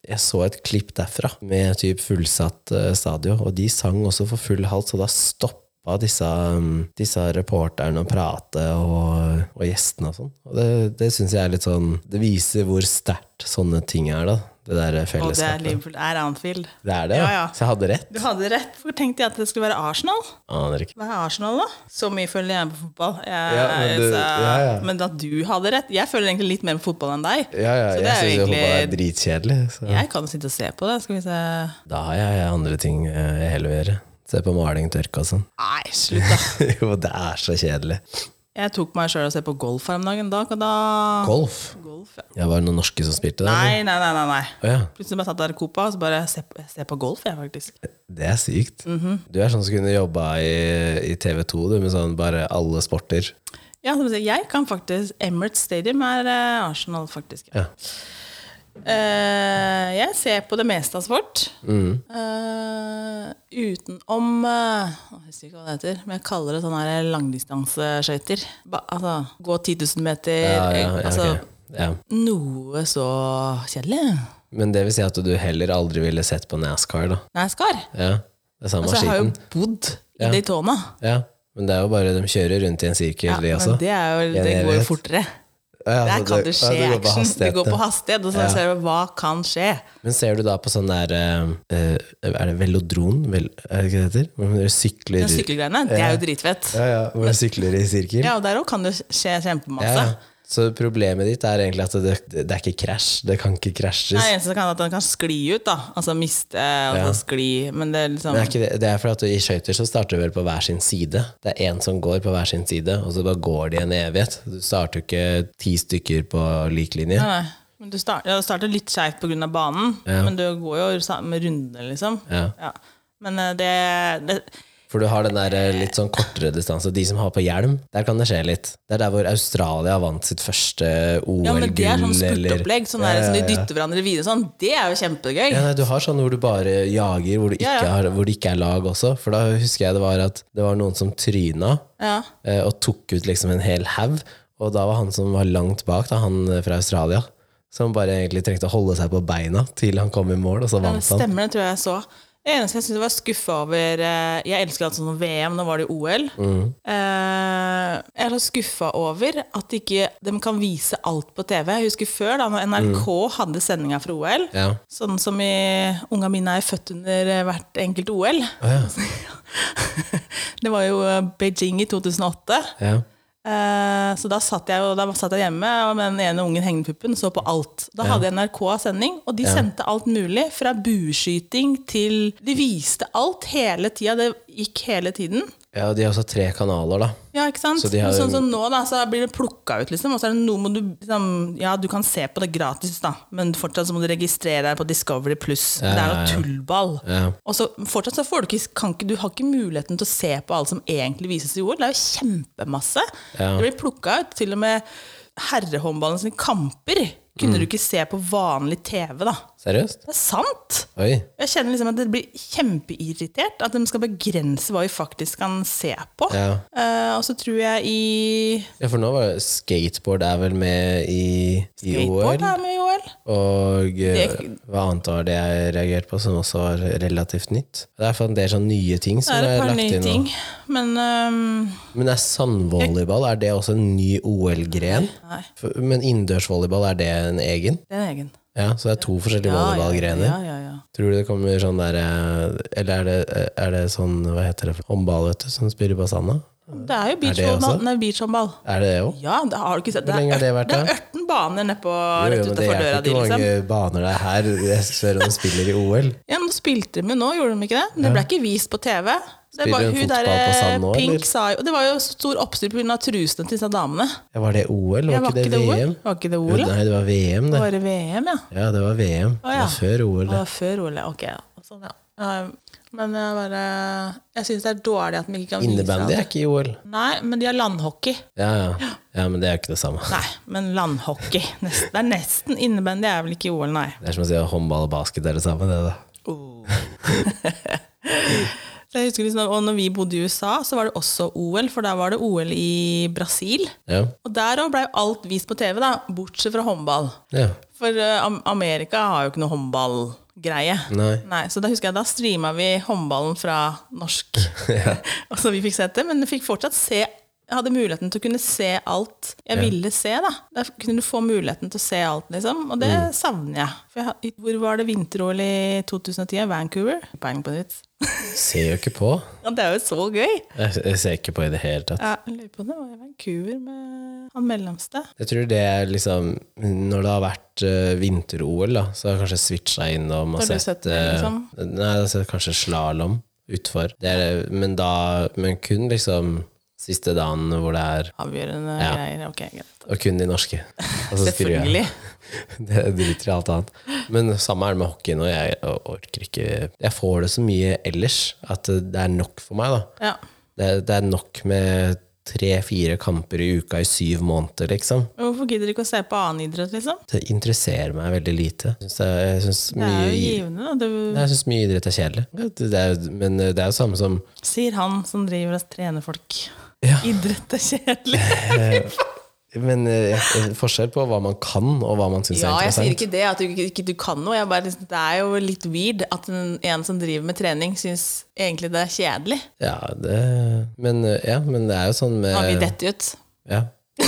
[SPEAKER 1] jeg så et klipp derfra med typ fullsatt eh, stadion, og de sang også for full hals, og da stoppa disse, um, disse reporterne å prate, og, og gjestene og sånn. Og det, det syns jeg er litt sånn Det viser hvor sterkt sånne ting er, da. Det der
[SPEAKER 2] Og det er
[SPEAKER 1] fellesskapet.
[SPEAKER 2] Liverpool. Det er Anfield.
[SPEAKER 1] Det er det,
[SPEAKER 2] Ja,
[SPEAKER 1] ja.
[SPEAKER 2] ja.
[SPEAKER 1] Så jeg hadde rett.
[SPEAKER 2] Du hadde rett. Hvorfor tenkte jeg at det skulle være Arsenal?
[SPEAKER 1] Aner ikke.
[SPEAKER 2] Hva er Arsenal, da? Så mye følger jeg med på fotball. Jeg,
[SPEAKER 1] Ja, men du-
[SPEAKER 2] så,
[SPEAKER 1] ja, ja.
[SPEAKER 2] men at du hadde rett Jeg følger egentlig litt mer med fotball enn deg.
[SPEAKER 1] Ja, ja,
[SPEAKER 2] Så
[SPEAKER 1] jeg
[SPEAKER 2] det er jo
[SPEAKER 1] syns jo
[SPEAKER 2] egentlig-
[SPEAKER 1] fotball er dritkjedelig. Så.
[SPEAKER 2] Jeg kan jo sitte og se på det. Skal vi se
[SPEAKER 1] Da har jeg andre ting eh, jeg heller vil gjøre. Se på maling, tørke og sånn.
[SPEAKER 2] Nei, slutt, da.
[SPEAKER 1] jo, det er så kjedelig.
[SPEAKER 2] Jeg tok meg sjøl og se på golf her om dagen. Da, da
[SPEAKER 1] Golf?
[SPEAKER 2] Golf, ja.
[SPEAKER 1] Ja, var det noen norske som spilte det? eller?
[SPEAKER 2] Ah. Nei, nei, nei. nei, nei.
[SPEAKER 1] Å ja.
[SPEAKER 2] Plutselig bare satt der i Copa og så bare se, på- se på golf, jeg, faktisk.
[SPEAKER 1] Det er sykt.
[SPEAKER 2] Mhm.
[SPEAKER 1] Du er sånn som kunne jobba i, i TV2 du, med sånn bare alle sporter.
[SPEAKER 2] Ja, som du sier, jeg kan faktisk Emirates Stadium er eh, Arsenal, faktisk.
[SPEAKER 1] Ja.
[SPEAKER 2] Eh, jeg ser på det meste av sport.
[SPEAKER 1] Mm.
[SPEAKER 2] Eh, utenom eh, Jeg husker ikke hva det heter, men jeg kaller det sånne her langdistanseskøyter. Ba- Altså gå 10 000 meter.
[SPEAKER 1] Ja, ja,
[SPEAKER 2] eh,
[SPEAKER 1] ja,
[SPEAKER 2] altså
[SPEAKER 1] ok. ja.
[SPEAKER 2] noe så kjedelig.
[SPEAKER 1] Men det vil si at du heller aldri ville sett på NASCAR, da.
[SPEAKER 2] Nei, Skar.
[SPEAKER 1] Ja, det er samme
[SPEAKER 2] Altså, jeg har jo
[SPEAKER 1] skiten.
[SPEAKER 2] bodd i Daytona.
[SPEAKER 1] Ja, men det er jo bare de kjører rundt i en sirkel, de også.
[SPEAKER 2] Men det, er jo,
[SPEAKER 1] altså. Ja,
[SPEAKER 2] det
[SPEAKER 1] jeg
[SPEAKER 2] går jo
[SPEAKER 1] vet.
[SPEAKER 2] fortere.
[SPEAKER 1] Ja,
[SPEAKER 2] Der
[SPEAKER 1] altså,
[SPEAKER 2] kan det skje
[SPEAKER 1] ja, går på
[SPEAKER 2] action. Det
[SPEAKER 1] hastighet,
[SPEAKER 2] går
[SPEAKER 1] ja.
[SPEAKER 2] på hastighet. Og så ser du hva kan skje.
[SPEAKER 1] Men ser du da på sånn der eh, eh, Er det velodron? Vel, er det ikke det heter? Hvor dere sykler
[SPEAKER 2] Men sykkelgreiene, det er jo dritfett.
[SPEAKER 1] Ja, ja, hvor dere sykler i sirkel?
[SPEAKER 2] Ja, og der òg kan det skje
[SPEAKER 1] Ja,
[SPEAKER 2] kjempemasse.
[SPEAKER 1] ja. Så problemet ditt er egentlig at det, det det er ikke krasj. Det kan ikke krasjes.
[SPEAKER 2] Det eneste kan at den kan skli ut, da. Altså miste og så skli. Men det er liksom
[SPEAKER 1] Men er ikke det, det er fordi at I skøyter så starter du vel på hver sin side. Det er én som går på hver sin side, og så bare går de en evighet. Du starter jo ikke ti stykker på lik linje.
[SPEAKER 2] Nei, nei. Men du starter, ja, du starter litt skeivt pga. banen, men du går jo samme runde, liksom.
[SPEAKER 1] Ja.
[SPEAKER 2] Men eh, det, det
[SPEAKER 1] For du har den der eh, litt sånn kortere distanse. De som har på hjelm, der kan det skje litt. Det er der hvor Australia vant sitt første
[SPEAKER 2] Ja, men det er
[SPEAKER 1] OL-gull,
[SPEAKER 2] sånn
[SPEAKER 1] eller
[SPEAKER 2] spurtopplegg. Sånn der, som de dytter hverandre videre sånn. Det er jo kjempegøy.
[SPEAKER 1] ja, nei, Du har sånn hvor du bare jager, hvor, du ikke
[SPEAKER 2] Ja, ja.
[SPEAKER 1] Har, hvor det ikke er lag også. For da husker jeg det var at det var noen som tryna
[SPEAKER 2] Ja.
[SPEAKER 1] eh, og tok ut liksom en hel haug. Og da var han som var langt bak, da, han eh, fra Australia, som bare egentlig trengte å holde seg på beina til han kom i mål, og så
[SPEAKER 2] Det
[SPEAKER 1] vant han.
[SPEAKER 2] stemmer, det tror jeg jeg så. Det eneste jeg syntes var skuffa over eh, Jeg elsker alt sånn som VM, nå var det OL. Eh, jeg er så skuffa over at ikke de kan vise alt på TV. Jeg husker før, da når NRK hadde sendinga fra OL,
[SPEAKER 1] Ja.
[SPEAKER 2] sånn som i Unga mine er født under eh, hvert enkelt OL. det var jo eh, Beijing i 2008.
[SPEAKER 1] Ja.
[SPEAKER 2] Eh, Så da satt jeg, jo- da satt jeg hjemme og med den ene ungen hengende puppen så på alt. Da hadde NRK sending, og de sendte alt mulig. Fra bueskyting til De viste alt hele tida. Det gikk hele tiden.
[SPEAKER 1] ja, de har også tre kanaler, da.
[SPEAKER 2] Ja, ikke sant?
[SPEAKER 1] de har-
[SPEAKER 2] Sånn som nå, da, så blir det plukka ut, liksom. Og så er det noe må du liksom Ja, du kan se på det gratis, da, men fortsatt så må du registrere deg på Discovery Pluss. Det er noe tullball.
[SPEAKER 1] Ja.
[SPEAKER 2] Og så fortsatt så får du ikke, kan ikke Du har ikke muligheten til å se på alt som egentlig vises i OL. Det er jo kjempemasse.
[SPEAKER 1] Ja.
[SPEAKER 2] Det blir plukka ut. Til og med herrehåndballen sine kamper kunne
[SPEAKER 1] Mm.
[SPEAKER 2] du ikke se på vanlig TV, da.
[SPEAKER 1] Seriøst?
[SPEAKER 2] Det er sant!
[SPEAKER 1] Oi.
[SPEAKER 2] Jeg kjenner liksom at det blir kjempeirritert at de skal begrense hva vi faktisk kan se på.
[SPEAKER 1] Ja.
[SPEAKER 2] Eh, og så tror jeg i
[SPEAKER 1] Ja, for nå var det skateboard er vel med i, i OL.
[SPEAKER 2] Skateboard er med i OL.
[SPEAKER 1] Og eh,
[SPEAKER 2] Det-
[SPEAKER 1] hva annet var det jeg reagerte på som også var relativt nytt? Det er for en del sånn nye ting
[SPEAKER 2] Det
[SPEAKER 1] som
[SPEAKER 2] er et
[SPEAKER 1] er
[SPEAKER 2] par
[SPEAKER 1] lagt
[SPEAKER 2] nye
[SPEAKER 1] inn nå.
[SPEAKER 2] ting. Men ehm,
[SPEAKER 1] Men er sandvolleyball er det også en ny OL-gren?
[SPEAKER 2] Nei.
[SPEAKER 1] For- Men innendørsvolleyball, er det en egen?
[SPEAKER 2] det er en egen.
[SPEAKER 1] Ja, Så det er to forskjellige
[SPEAKER 2] ja,
[SPEAKER 1] volleyballgrener.
[SPEAKER 2] ja, ja, ja.
[SPEAKER 1] Tror du det kommer sånn der eh, Eller er det, er det sånn, hva heter det, håndball, vet du, som spiller på sanda?
[SPEAKER 2] Det er jo
[SPEAKER 1] også?
[SPEAKER 2] beachhåndball. Nei, beachhåndball.
[SPEAKER 1] Er det det òg?
[SPEAKER 2] Ja, det har du ikke sett.
[SPEAKER 1] Hvor lenge har det vært,
[SPEAKER 2] det er
[SPEAKER 1] da?
[SPEAKER 2] ørten baner nedpå
[SPEAKER 1] Jo, jo,
[SPEAKER 2] rett
[SPEAKER 1] men det
[SPEAKER 2] utenfor døra
[SPEAKER 1] hjelper
[SPEAKER 2] di,
[SPEAKER 1] ikke hvor
[SPEAKER 2] liksom.
[SPEAKER 1] mange baner det er her. Jeg spør om de spiller i OL.
[SPEAKER 2] Ja, men spilte de jo nå, gjorde de ikke det? Det ble ikke vist på TV. Det
[SPEAKER 1] Spiller
[SPEAKER 2] var,
[SPEAKER 1] hun
[SPEAKER 2] hun
[SPEAKER 1] fotball
[SPEAKER 2] der, eh,
[SPEAKER 1] på sand nå,
[SPEAKER 2] Pink
[SPEAKER 1] eller?
[SPEAKER 2] sa jo Og det var jo stor oppstyr pga. trusene til disse damene.
[SPEAKER 1] Ja, var det OL,
[SPEAKER 2] Ja,
[SPEAKER 1] var ikke det,
[SPEAKER 2] OL?
[SPEAKER 1] VM?
[SPEAKER 2] Var ikke det
[SPEAKER 1] Jo,
[SPEAKER 2] OL? da?
[SPEAKER 1] Nei, det var VM, det.
[SPEAKER 2] Var det VM, ja?
[SPEAKER 1] Ja, det var VM. Det
[SPEAKER 2] ja.
[SPEAKER 1] var før OL.
[SPEAKER 2] Det var før OL, ja. ok. ja. Sånn, ja. Um, Men jeg bare Jeg syns det er dårlig at de ikke kan vise
[SPEAKER 1] Innebandy er ikke i OL.
[SPEAKER 2] alt. Nei, men de har landhockey.
[SPEAKER 1] Ja, ja. ja, men det er jo ikke det samme.
[SPEAKER 2] Nei, men landhockey. Nesten, det er nesten innebandy. er vel ikke i OL, nei.
[SPEAKER 1] Det er som å si at håndball og basket er det samme, det, da.
[SPEAKER 2] Så jeg husker liksom, og når vi bodde i USA, så var det også OL, for der var det OL i Brasil.
[SPEAKER 1] Ja.
[SPEAKER 2] Og der òg blei alt vist på TV, da, bortsett fra håndball.
[SPEAKER 1] ja.
[SPEAKER 2] For eh, Am- Amerika har jo ikke noe håndballgreie.
[SPEAKER 1] Nei.
[SPEAKER 2] så da husker jeg da streama vi håndballen fra norsk. Og så vi fikk sett det, men du fikk fortsatt se jeg hadde muligheten til å kunne se alt jeg ville se. da. Da kunne du få muligheten til å se alt, liksom. Og det
[SPEAKER 1] Mm.
[SPEAKER 2] savner jeg. For jeg. har- Hvor var det vinter-OL i 2010? Vancouver? Bang på nytt.
[SPEAKER 1] Ser jo ikke på.
[SPEAKER 2] Ja, det er jo så gøy!
[SPEAKER 1] Jeg, jeg ser ikke på i det hele tatt.
[SPEAKER 2] Ja, jeg lurer på om det var i Vancouver med han mellomste.
[SPEAKER 1] Jeg tror det er liksom Når det har vært eh, vinter-OL, da, så har jeg kanskje switcha innom og
[SPEAKER 2] Har du sett det,
[SPEAKER 1] eh,
[SPEAKER 2] liksom?
[SPEAKER 1] Nei, jeg har sett kanskje slalåm utfor. Det er, men da Men kun liksom Siste dagen hvor det er
[SPEAKER 2] Avgjørende
[SPEAKER 1] Ja.
[SPEAKER 2] greier. Ok, greit.
[SPEAKER 1] Og kun de norske. Og så skrur jeg.
[SPEAKER 2] Selvfølgelig.
[SPEAKER 1] Det driter i alt annet. Men samme er det med hockeyen. Og jeg orker ikke Jeg får det så mye ellers at det er nok for meg. da
[SPEAKER 2] Ja.
[SPEAKER 1] Det, det er nok med tre-fire kamper i uka i syv måneder, liksom.
[SPEAKER 2] Men Hvorfor gidder du ikke å se på annen idrett, liksom?
[SPEAKER 1] Det interesserer meg veldig lite. Jeg synes det- jeg syns
[SPEAKER 2] Det er
[SPEAKER 1] mye,
[SPEAKER 2] jo givende, da. Du,
[SPEAKER 1] Nei, jeg synes mye idrett er kjedelig. Det det er, men eh, det er jo samme som
[SPEAKER 2] sier han som driver og trener folk.
[SPEAKER 1] Ja.
[SPEAKER 2] Idrett er kjedelig.
[SPEAKER 1] Men eh, forskjell på hva man kan, og hva man syns er
[SPEAKER 2] Ja, jeg sier
[SPEAKER 1] interessant.
[SPEAKER 2] ikke det, at du ikke, ikke du kan noe. Jeg bare, liksom, det er jo litt weird at en, en som driver med trening, syns egentlig det er kjedelig.
[SPEAKER 1] Ja, det, men, eh, ja, men det er jo sånn med
[SPEAKER 2] Har vi dette ut?
[SPEAKER 1] Ja.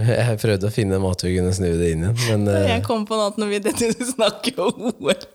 [SPEAKER 1] Jeg prøvde å finne en måte vi kunne snu det inn igjen, men eh,
[SPEAKER 2] Jeg kom på noe annet når vi dette ut snakker om OL.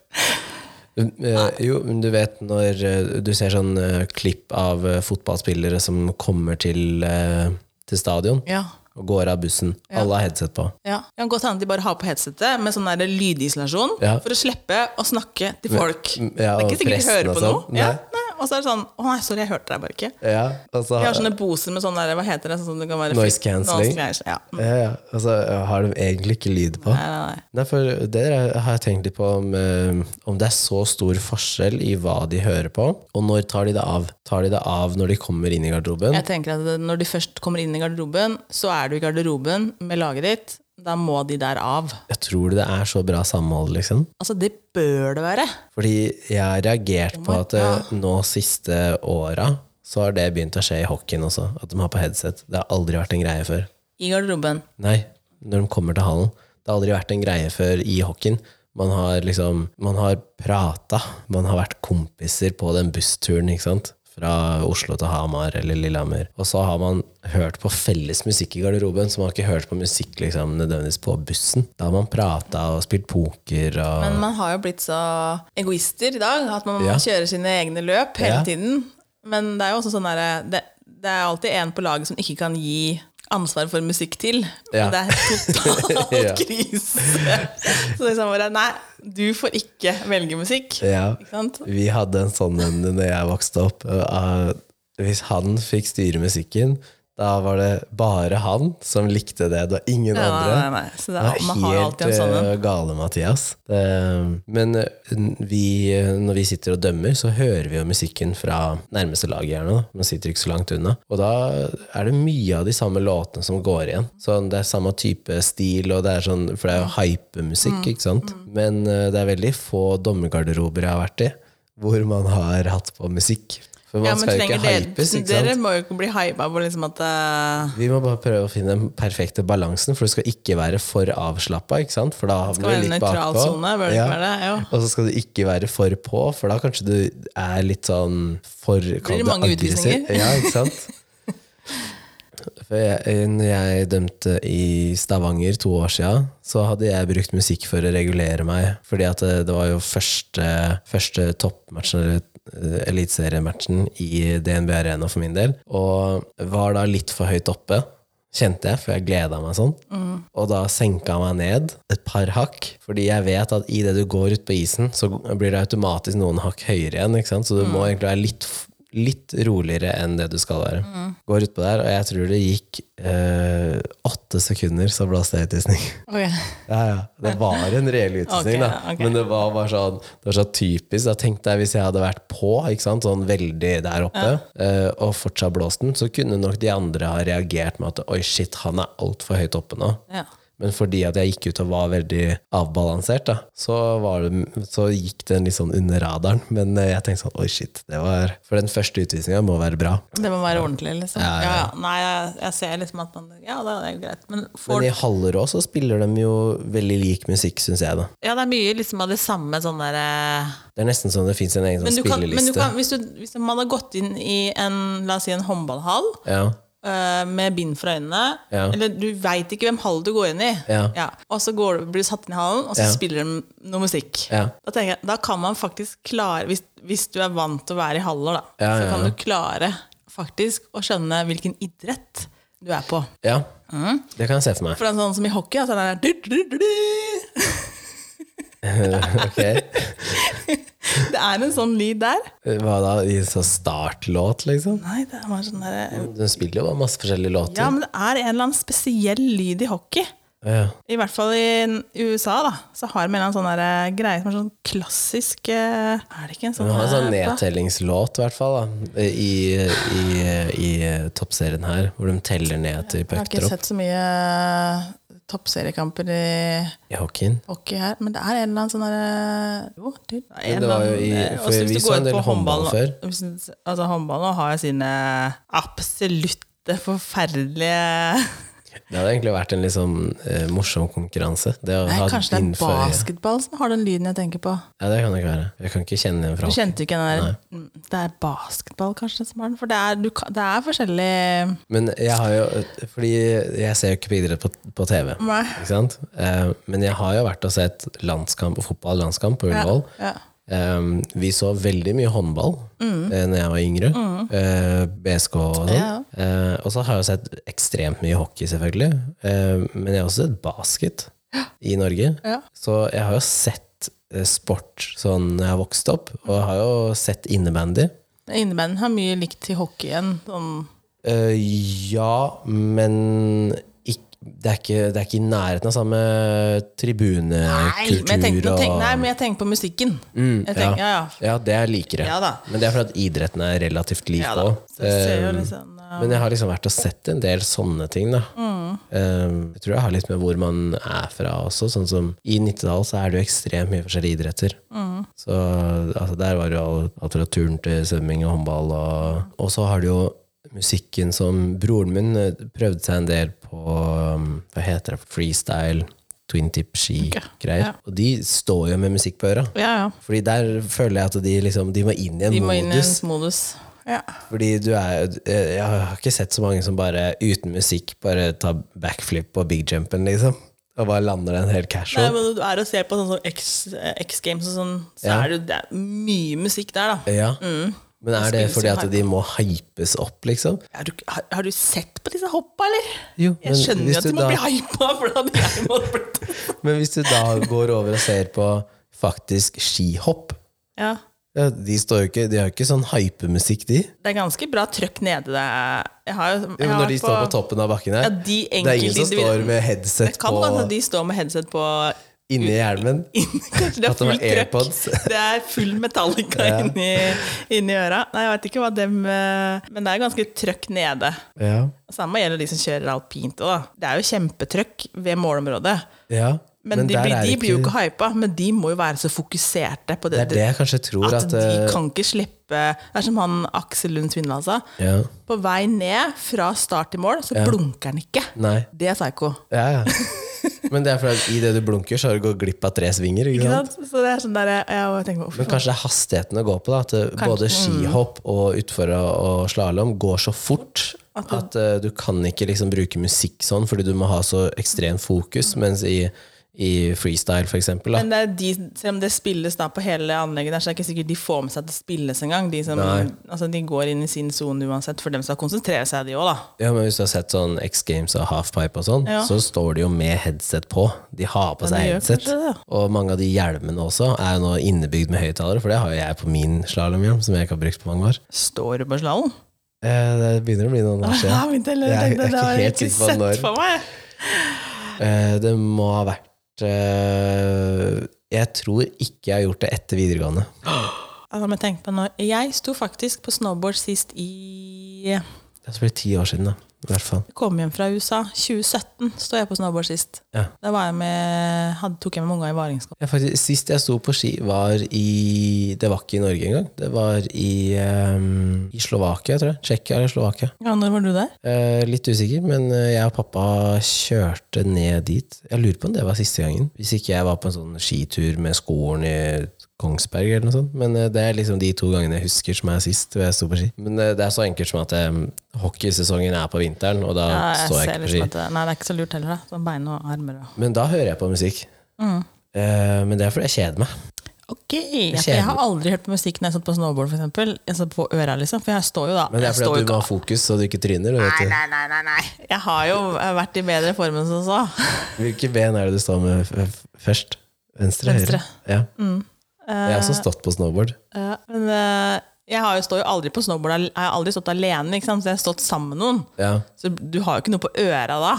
[SPEAKER 1] eh, Jo, men du vet når eh, du ser sånn eh, klipp av eh, fotballspillere som kommer til, eh, til stadion
[SPEAKER 2] Ja.
[SPEAKER 1] og går av bussen. Alle har headset på.
[SPEAKER 2] Ja. Det kan godt hende de bare har på headsetet med sånn der lydisolasjon
[SPEAKER 1] Ja.
[SPEAKER 2] for å slippe å snakke til folk.
[SPEAKER 1] m-
[SPEAKER 2] det
[SPEAKER 1] Mm, ja,
[SPEAKER 2] er
[SPEAKER 1] og
[SPEAKER 2] ikke sikkert de
[SPEAKER 1] pressen
[SPEAKER 2] hører
[SPEAKER 1] og
[SPEAKER 2] på noe.
[SPEAKER 1] sånn.
[SPEAKER 2] Ja,
[SPEAKER 1] Nei.
[SPEAKER 2] nei. Og så er det sånn Å nei, sorry, jeg hørte deg bare ikke.
[SPEAKER 1] Ja, altså, og så
[SPEAKER 2] Jeg har sånne boser med sånn der, hva heter det, sånn som det kan være
[SPEAKER 1] Noise cancelling.
[SPEAKER 2] Noise cancelling, Ja.
[SPEAKER 1] ja, ja, og så har de egentlig ikke lyd på.
[SPEAKER 2] Nei, nei, nei.
[SPEAKER 1] Nei, for det har jeg tenkt litt på om, eh, om det er så stor forskjell i hva de hører på, og når tar de det av? Tar de det av når de kommer inn i garderoben?
[SPEAKER 2] Jeg tenker at det- når de først kommer inn i garderoben, så er du i garderoben med laget ditt. Da må de der av.
[SPEAKER 1] Jeg tror det er så bra samhold, liksom.
[SPEAKER 2] Altså, det bør det være.
[SPEAKER 1] Fordi jeg har
[SPEAKER 2] Oh
[SPEAKER 1] reagert på at eh, nå siste åra så har det begynt å skje i hockeyen også, at de har på headset. Det har aldri vært en greie før.
[SPEAKER 2] I garderoben.
[SPEAKER 1] Nei, når de kommer til hallen. Det har aldri vært en greie før i hockeyen. Man har liksom, man har prata, man har vært kompiser på den bussturen, ikke sant? Fra Oslo til Hamar eller Lillehammer. Og så har man hørt på felles musikk i garderoben, så man har ikke hørt på musikk liksom, nødvendigvis på bussen. Da har man prata og spilt poker og
[SPEAKER 2] Men man har jo blitt så egoister i dag at man må
[SPEAKER 1] Ja.
[SPEAKER 2] kjøre sine egne løp hele
[SPEAKER 1] Ja.
[SPEAKER 2] tiden. Men det er jo også sånn derre det, det er alltid en på laget som ikke kan gi ansvar for musikk til.
[SPEAKER 1] Ja.
[SPEAKER 2] Og det er totalt
[SPEAKER 1] Ja.
[SPEAKER 2] krise. Så liksom bare Nei, du får ikke velge musikk.
[SPEAKER 1] Ja.
[SPEAKER 2] Ikke sant?
[SPEAKER 1] Vi hadde en sånn en når jeg vokste opp. eh, hvis han fikk styre musikken, da var det bare han som likte det. Det var ingen
[SPEAKER 2] Nei,
[SPEAKER 1] andre.
[SPEAKER 2] nei, nei, nei. Så det
[SPEAKER 1] Det
[SPEAKER 2] er,
[SPEAKER 1] er
[SPEAKER 2] man har jo
[SPEAKER 1] helt
[SPEAKER 2] alltid en sånn en.
[SPEAKER 1] eh, gale, Mathias. Det- Men eh, vi, eh, når vi sitter og dømmer, så hører vi jo musikken fra nærmeste lag gjerne. da. Man sitter ikke så langt unna. Og da er det mye av de samme låtene som går igjen. Sånn, det er samme type stil, og det er sånn, for det er jo hypemusikk,
[SPEAKER 2] Mm.
[SPEAKER 1] ikke sant? Men eh, det er veldig få dommergarderober jeg har vært i, hvor man har hatt på musikk. For man
[SPEAKER 2] Ja, men
[SPEAKER 1] skal jo
[SPEAKER 2] trenger
[SPEAKER 1] ikke
[SPEAKER 2] dere,
[SPEAKER 1] hypes, ikke sant?
[SPEAKER 2] dere må jo ikke bli hypa på liksom at eh,
[SPEAKER 1] Vi må bare prøve å finne den perfekte balansen, for du skal ikke være for avslappa. ikke sant? For da
[SPEAKER 2] det
[SPEAKER 1] havner
[SPEAKER 2] er
[SPEAKER 1] du
[SPEAKER 2] en
[SPEAKER 1] litt
[SPEAKER 2] nøytral
[SPEAKER 1] bakpå.
[SPEAKER 2] sone. Bør det
[SPEAKER 1] Ja.
[SPEAKER 2] ikke være det? Jo.
[SPEAKER 1] Og så skal du ikke være for på, for da kanskje du er litt sånn for Blir
[SPEAKER 2] det mange utvisninger?
[SPEAKER 1] Ja, ikke sant? For jeg, når jeg dømte i Stavanger to år siden, så hadde jeg brukt musikk for å regulere meg. Fordi at eh, det, det var jo første, første toppmatchen, eller eh, eliteseriematchen, i DNB Arena for min del. Og var da litt for høyt oppe, kjente jeg, for jeg gleda meg sånn. Og da senka jeg meg ned et par hakk, fordi jeg vet at idet du går ut på isen, så blir det automatisk noen hakk høyere igjen, ikke sant? så du må egentlig være litt f- litt roligere enn det du skal være. Går utpå der, og jeg tror det gikk eh, åtte sekunder, så blåste jeg utvisning. ja, ja. Det var en reell utvisning,
[SPEAKER 2] Ok,
[SPEAKER 1] da.
[SPEAKER 2] ok.
[SPEAKER 1] men det var bare sånn Det var så typisk. Da tenkte jeg hvis jeg hadde vært på, ikke sant? sånn veldig der oppe, eh, og fortsatt blåst den, så kunne nok de andre ha reagert med at oi, shit, han er altfor høyt oppe nå.
[SPEAKER 2] Ja.
[SPEAKER 1] Men fordi at jeg gikk ut og var veldig avbalansert, da, så, var det, så gikk den litt sånn under radaren. Men eh, jeg tenkte sånn Oi, shit. Det var, for den første utvisninga må være bra.
[SPEAKER 2] Det må være ordentlig, liksom.
[SPEAKER 1] Ja,
[SPEAKER 2] Ja,
[SPEAKER 1] ja,
[SPEAKER 2] ja.
[SPEAKER 1] ja.
[SPEAKER 2] Nei, jeg, jeg ser liksom at man Ja, det er jo greit. Men
[SPEAKER 1] Men
[SPEAKER 2] får,
[SPEAKER 1] i haller òg så spiller de jo veldig lik musikk, syns jeg. da.
[SPEAKER 2] ja, det er mye liksom av det samme sånn derre
[SPEAKER 1] Det er nesten sånn det fins en egen sånn
[SPEAKER 2] Men, du kan, men du
[SPEAKER 1] spilleliste.
[SPEAKER 2] kan, hvis, du, hvis man hadde gått inn i en, la oss si, en håndballhall
[SPEAKER 1] Ja,
[SPEAKER 2] eh, med bind for øynene
[SPEAKER 1] Ja.
[SPEAKER 2] Eller du veit ikke hvem hall du går inn i.
[SPEAKER 1] Ja.
[SPEAKER 2] Og så går, du- blir du satt inn i hallen, og så
[SPEAKER 1] Ja.
[SPEAKER 2] spiller de noe musikk.
[SPEAKER 1] ja,
[SPEAKER 2] Da tenker jeg, da kan man faktisk klare Hvis, hvis du er vant til å være i haller, da,
[SPEAKER 1] Ja, ja,
[SPEAKER 2] så kan
[SPEAKER 1] ja.
[SPEAKER 2] du klare faktisk å skjønne hvilken idrett du er på.
[SPEAKER 1] ja.
[SPEAKER 2] Mm.
[SPEAKER 1] Det kan jeg se for meg.
[SPEAKER 2] For det er sånn som i hockey, altså den der du, du, du, du.
[SPEAKER 1] Ok.
[SPEAKER 2] Det er en sånn lyd der.
[SPEAKER 1] Hva da? I en sånn startlåt, liksom?
[SPEAKER 2] Nei, det er bare sånn der,
[SPEAKER 1] Den spiller jo bare masse forskjellige låter.
[SPEAKER 2] Ja, men det er en eller annen spesiell lyd i hockey.
[SPEAKER 1] Ja.
[SPEAKER 2] I hvert fall i n- USA, da. Så har de en eller annen sånn der, eh, greie som er sånn klassisk eh, Er det ikke en sånn
[SPEAKER 1] Du har en sånn
[SPEAKER 2] eh,
[SPEAKER 1] nedtellingslåt, i hvert fall, da. I, i, i eh, toppserien her, hvor de teller ned til
[SPEAKER 2] Jeg har ikke
[SPEAKER 1] puckdrop
[SPEAKER 2] sett så mye eh, toppseriekamper i
[SPEAKER 1] i hockeyen.
[SPEAKER 2] hockey her, men det er en eller annen sånn derre Jo, det er en
[SPEAKER 1] Men det var
[SPEAKER 2] eller
[SPEAKER 1] jo i-
[SPEAKER 2] annen-
[SPEAKER 1] for
[SPEAKER 2] Også hvis
[SPEAKER 1] vi
[SPEAKER 2] du
[SPEAKER 1] så
[SPEAKER 2] går
[SPEAKER 1] en del
[SPEAKER 2] på
[SPEAKER 1] håndball
[SPEAKER 2] håndballen-
[SPEAKER 1] før.
[SPEAKER 2] hvis- Altså, håndballen har jo sine absolutte forferdelige
[SPEAKER 1] Det hadde egentlig vært en litt sånn eh, morsom konkurranse. Det å
[SPEAKER 2] Nei,
[SPEAKER 1] ha
[SPEAKER 2] kanskje det er
[SPEAKER 1] innenfor-
[SPEAKER 2] basketball som har den lyden jeg tenker på.
[SPEAKER 1] Ja, det kan det ikke være. Jeg kan ikke kjenne igjen fra
[SPEAKER 2] Du kjente ikke den der Mm, Det er basketball kanskje som har den? For det er, du, kan- det er forskjellig
[SPEAKER 1] Men jeg har jo Fordi jeg ser jo ikke på idrett på, på TV.
[SPEAKER 2] Nei.
[SPEAKER 1] Ikke sant? Eh, men jeg har jo vært og sett landskamp, fotball-landskamp på Ullevål.
[SPEAKER 2] ja.
[SPEAKER 1] Eh, vi så veldig mye håndball eh, når jeg var yngre. Eh, BSK og sånn.
[SPEAKER 2] Mm. Ja.
[SPEAKER 1] Eh, og så har jeg jo sett ekstremt mye hockey, selvfølgelig. Eh, men jeg har også sett basket i Norge.
[SPEAKER 2] Ja.
[SPEAKER 1] Så jeg har jo sett eh, sport sånn når jeg har vokst opp, og jeg har jo sett innebandy.
[SPEAKER 2] Innebandyen har mye likt til hockeyen. Sånn,
[SPEAKER 1] Eh, ja, men ikk- det, er ikke, det er ikke i nærheten av samme
[SPEAKER 2] nei, men jeg tenkte,
[SPEAKER 1] tribunekultur
[SPEAKER 2] nå tenk,
[SPEAKER 1] og Mm,
[SPEAKER 2] nei, men jeg tenker på musikken. jeg
[SPEAKER 1] ja.
[SPEAKER 2] tenker, Mm, ja, ja.
[SPEAKER 1] Ja, det er likere.
[SPEAKER 2] Ja da.
[SPEAKER 1] Men det er fordi at idretten er relativt lik
[SPEAKER 2] ja
[SPEAKER 1] òg.
[SPEAKER 2] da. Så jeg ser jo liksom, ja.
[SPEAKER 1] men jeg har liksom vært og sett en del sånne ting, da.
[SPEAKER 2] Mm.
[SPEAKER 1] Eh, jeg tror det har litt med hvor man er fra også. Sånn som I Nittedal så er det jo ekstremt mye forskjellige idretter.
[SPEAKER 2] Mm.
[SPEAKER 1] Så altså, der var det jo alt- alt fra turn til svømming og håndball. Og, og så har du jo musikken som Broren min eh, prøvde seg en del på um, Hva heter det? Freestyle, twin tip ski-greier.
[SPEAKER 2] ja.
[SPEAKER 1] Og de står jo med musikk på øra.
[SPEAKER 2] ja, ja.
[SPEAKER 1] Fordi der føler jeg at de, liksom, de må inn i en
[SPEAKER 2] De må inn i
[SPEAKER 1] modus.
[SPEAKER 2] en modus. Ja.
[SPEAKER 1] Fordi du er eh, Jeg har ikke sett så mange som bare uten musikk bare tar backflip på big jumpen, liksom. Og bare lander den helt
[SPEAKER 2] Nei,
[SPEAKER 1] casual.
[SPEAKER 2] men du er og ser på sånn som X, X Games og sånn, så
[SPEAKER 1] Ja.
[SPEAKER 2] er det, jo- det er mye musikk der, da.
[SPEAKER 1] Ja.
[SPEAKER 2] Mm.
[SPEAKER 1] Men er det
[SPEAKER 2] spilles
[SPEAKER 1] fordi
[SPEAKER 2] jo
[SPEAKER 1] at de må hypes opp, liksom?
[SPEAKER 2] Er du, har, har du sett på disse hoppa, eller?
[SPEAKER 1] Jo,
[SPEAKER 2] Jeg skjønner jo
[SPEAKER 1] hvis
[SPEAKER 2] at du
[SPEAKER 1] du
[SPEAKER 2] må
[SPEAKER 1] da-
[SPEAKER 2] bli hypa, for da hadde jeg måttet bli
[SPEAKER 1] Men hvis du da går over og ser på faktisk skihopp
[SPEAKER 2] Ja.
[SPEAKER 1] ja, De står jo ikke De har jo ikke sånn hypemusikk, de.
[SPEAKER 2] Det er ganske bra trøkk nede der. Jeg har, jo-
[SPEAKER 1] Ja,
[SPEAKER 2] jeg
[SPEAKER 1] men
[SPEAKER 2] har
[SPEAKER 1] når de står på toppen av bakken her
[SPEAKER 2] Ja, de
[SPEAKER 1] Det er ingen som
[SPEAKER 2] enkeltindividene-
[SPEAKER 1] står med
[SPEAKER 2] Det
[SPEAKER 1] headset
[SPEAKER 2] kan være
[SPEAKER 1] på
[SPEAKER 2] at de står med headset på
[SPEAKER 1] inni hjelmen.
[SPEAKER 2] Kanskje
[SPEAKER 1] At det
[SPEAKER 2] det er
[SPEAKER 1] var
[SPEAKER 2] full trøkk.
[SPEAKER 1] AirPods.
[SPEAKER 2] Det er full Metallica inni, inni øra. Nei, jeg vet ikke hva dem eh, Men det er ganske trøkk nede. Altså,
[SPEAKER 1] Ja.
[SPEAKER 2] Samme gjelder de som kjører alpint òg, da. Det er jo kjempetrøkk ved målområdet.
[SPEAKER 1] ja.
[SPEAKER 2] Men, de,
[SPEAKER 1] der
[SPEAKER 2] blir-
[SPEAKER 1] er
[SPEAKER 2] de
[SPEAKER 1] det
[SPEAKER 2] blir jo ikke hypa, men de må jo være så fokuserte på
[SPEAKER 1] Det
[SPEAKER 2] det,
[SPEAKER 1] er det jeg kanskje tror at,
[SPEAKER 2] at de
[SPEAKER 1] eh,
[SPEAKER 2] kan ikke slippe Det er som han Aksel Lund Svindal sa.
[SPEAKER 1] ja.
[SPEAKER 2] På vei ned fra start til mål, så blunker han ikke.
[SPEAKER 1] Nei.
[SPEAKER 2] Det er psyko.
[SPEAKER 1] Ja, ja. Men det er fordi at i det du blunker, så har du gått glipp av tre svinger. Ikke
[SPEAKER 2] Ikke
[SPEAKER 1] sant?
[SPEAKER 2] sant? Så det er sånn der, jeg Mm. tenker, på,
[SPEAKER 1] Men kanskje det er hastigheten å gå på. da At eh, Både skihopp og utfor og og slalåm går så fort at, eh, du kan ikke liksom bruke musikk sånn, fordi du må ha så ekstremt fokus. Mens i, i freestyle, for eksempel, da,
[SPEAKER 2] Men det er de, selv om det spilles da på hele anlegget, der, så er det ikke sikkert de får med seg at det spilles engang. De, som,
[SPEAKER 1] Nei.
[SPEAKER 2] altså, de går inn i sin sone uansett, for dem skal konsentrere seg, de òg, da.
[SPEAKER 1] Ja, men Hvis du har sett sånn X Games og Halfpipe og sånn,
[SPEAKER 2] Ja.
[SPEAKER 1] så står de jo med headset på. De har på
[SPEAKER 2] de
[SPEAKER 1] seg
[SPEAKER 2] gjør
[SPEAKER 1] headset.
[SPEAKER 2] kanskje det,
[SPEAKER 1] Og mange av de hjelmene også er jo nå innebygd med høyttalere, for det har jo jeg på min slalåmhjelm, som jeg ikke har brukt på mange år.
[SPEAKER 2] Står du på slalåm?
[SPEAKER 1] Eh, Det begynner å bli noen år
[SPEAKER 2] Ja,
[SPEAKER 1] siden.
[SPEAKER 2] men det, det,
[SPEAKER 1] Jeg er- jeg
[SPEAKER 2] det,
[SPEAKER 1] er ikke
[SPEAKER 2] har jeg
[SPEAKER 1] helt
[SPEAKER 2] ikke
[SPEAKER 1] sikker på
[SPEAKER 2] sett
[SPEAKER 1] når.
[SPEAKER 2] for meg.
[SPEAKER 1] Eh, Det må ha vært eh, Jeg tror ikke jeg har gjort det etter videregående.
[SPEAKER 2] Ja, da må jeg tenke Altså, på når. Jeg sto faktisk på snowboard sist i
[SPEAKER 1] Det er så blitt ti år siden, da. I hvert fall.
[SPEAKER 2] Kom hjem fra USA. 2017 sto jeg på snowboard sist.
[SPEAKER 1] Ja.
[SPEAKER 2] Da var jeg med, hadde, tok jeg med unga i Varingskamp.
[SPEAKER 1] Jeg faktisk, sist jeg sto på ski, var i Det var ikke i Norge engang. Det var i, eh, i Slovakia, tror jeg. Tsjekkia eller Slovakia.
[SPEAKER 2] Ja, når var du der?
[SPEAKER 1] Eh, litt usikker, men eh, jeg og pappa kjørte ned dit. Jeg lurer på om det var siste gangen. Hvis ikke jeg var på en sånn skitur med skolen i Kongsberg eller noe sånt. Men eh, det er liksom de to gangene jeg husker som er sist hvor jeg sto på ski. Men eh, det er så enkelt som at eh, hockeysesongen er på vinteren, og da
[SPEAKER 2] Ja,
[SPEAKER 1] står jeg
[SPEAKER 2] ser
[SPEAKER 1] ikke på
[SPEAKER 2] liksom
[SPEAKER 1] ski.
[SPEAKER 2] at det- Nei, det er ikke så lurt heller. da. Sånn bein og armer og
[SPEAKER 1] Men da hører jeg på musikk.
[SPEAKER 2] Mm.
[SPEAKER 1] Eh, men det er fordi jeg kjeder meg.
[SPEAKER 2] Ok, jeg,
[SPEAKER 1] kjeder
[SPEAKER 2] jeg har aldri hørt på musikk når jeg satt på snowboard, for eksempel. Jeg satt på øra, liksom, for jeg står jo da.
[SPEAKER 1] Men det er
[SPEAKER 2] jeg står
[SPEAKER 1] fordi
[SPEAKER 2] jo
[SPEAKER 1] at du
[SPEAKER 2] ikke-
[SPEAKER 1] må ha fokus så du ikke tryner. Du
[SPEAKER 2] Nei,
[SPEAKER 1] vet du.
[SPEAKER 2] nei, nei, nei, nei. Jeg har jo vært i bedre form enn som så.
[SPEAKER 1] Hvilke ben er det du står med f f først? Venstre?
[SPEAKER 2] Venstre. Mm. Eh,
[SPEAKER 1] Høyre? Ja. Jeg har også stått på snowboard.
[SPEAKER 2] Ja, men eh, jeg har jo, står jo aldri på snowboard, al- jeg har aldri stått alene, ikke sant? så jeg har stått sammen med noen.
[SPEAKER 1] Ja.
[SPEAKER 2] Så du har jo ikke noe på øra da.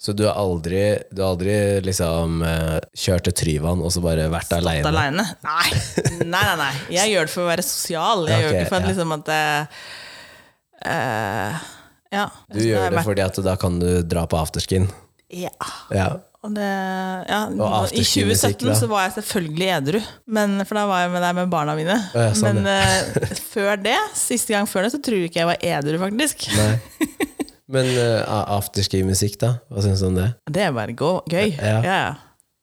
[SPEAKER 1] Så du har aldri, du har aldri liksom, eh, kjørt til Tryvann og så bare vært
[SPEAKER 2] Stått
[SPEAKER 1] aleine?
[SPEAKER 2] alene. Nei. nei, nei, nei. Jeg gjør det for å være sosial. Jeg gjør
[SPEAKER 1] Ok,
[SPEAKER 2] det ikke for
[SPEAKER 1] ja.
[SPEAKER 2] at liksom at eh, eh, Ja.
[SPEAKER 1] Du gjør det fordi at da kan du dra på afterskin.
[SPEAKER 2] Ja.
[SPEAKER 1] Ja.
[SPEAKER 2] Og det, ja, I
[SPEAKER 1] afterski-musikk,
[SPEAKER 2] 2017
[SPEAKER 1] da.
[SPEAKER 2] så var jeg selvfølgelig edru, men, for da var jeg med der med barna mine.
[SPEAKER 1] ja, sånn,
[SPEAKER 2] men eh, før det, siste gang før det, så tror jeg ikke jeg var edru, faktisk.
[SPEAKER 1] Nei. Men eh, afterski-musikk, da? Hva syns du om det?
[SPEAKER 2] Det er bare gå, gøy.
[SPEAKER 1] Ja.
[SPEAKER 2] Ja.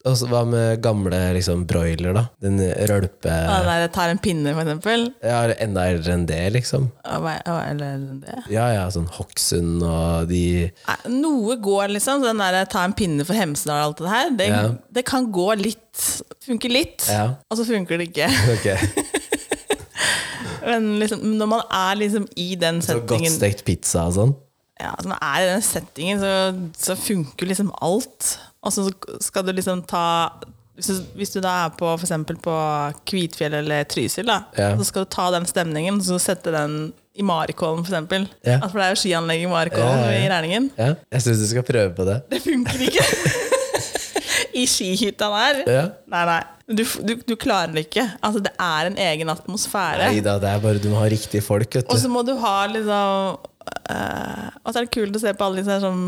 [SPEAKER 2] Ja,
[SPEAKER 1] Og så hva med gamle liksom, broiler, da? Den rølpe...
[SPEAKER 2] Den der jeg tar en pinne, for eksempel.
[SPEAKER 1] Ja, enda eldre enn det, liksom.
[SPEAKER 2] Og hva- og- Eller det.
[SPEAKER 1] Ja ja, sånn Hokksund og de
[SPEAKER 2] Nei, Noe går, liksom. så Den der ta en pinne for Hemsedal og alt det her, det,
[SPEAKER 1] Ja.
[SPEAKER 2] det kan gå litt. Funker litt,
[SPEAKER 1] Ja.
[SPEAKER 2] og så funker det ikke.
[SPEAKER 1] Ok.
[SPEAKER 2] Men liksom, når man er liksom i den
[SPEAKER 1] Så godt
[SPEAKER 2] settingen,
[SPEAKER 1] stekt pizza og sånn.
[SPEAKER 2] ja, altså, når man er i den settingen så, så funker liksom alt. Og så skal du liksom ta hvis du, hvis du da er på for eksempel på Kvitfjell eller Trysil, da,
[SPEAKER 1] Ja.
[SPEAKER 2] så skal du ta den stemningen og sette den i Marikollen, for eksempel.
[SPEAKER 1] Ja.
[SPEAKER 2] Altså, For det er jo skianlegg i Marikollen
[SPEAKER 1] Ja, ja, ja.
[SPEAKER 2] i Rælingen.
[SPEAKER 1] Ja, jeg syns du skal prøve på det.
[SPEAKER 2] Det funker ikke! I skihytta der.
[SPEAKER 1] Ja.
[SPEAKER 2] Nei, nei. Du, du, du klarer det ikke. Altså, det er en egen atmosfære.
[SPEAKER 1] Nei da, det er bare du må ha riktige folk, vet
[SPEAKER 2] Og
[SPEAKER 1] du.
[SPEAKER 2] så må du ha liksom eh, Og så er det kult å se på alle disse her som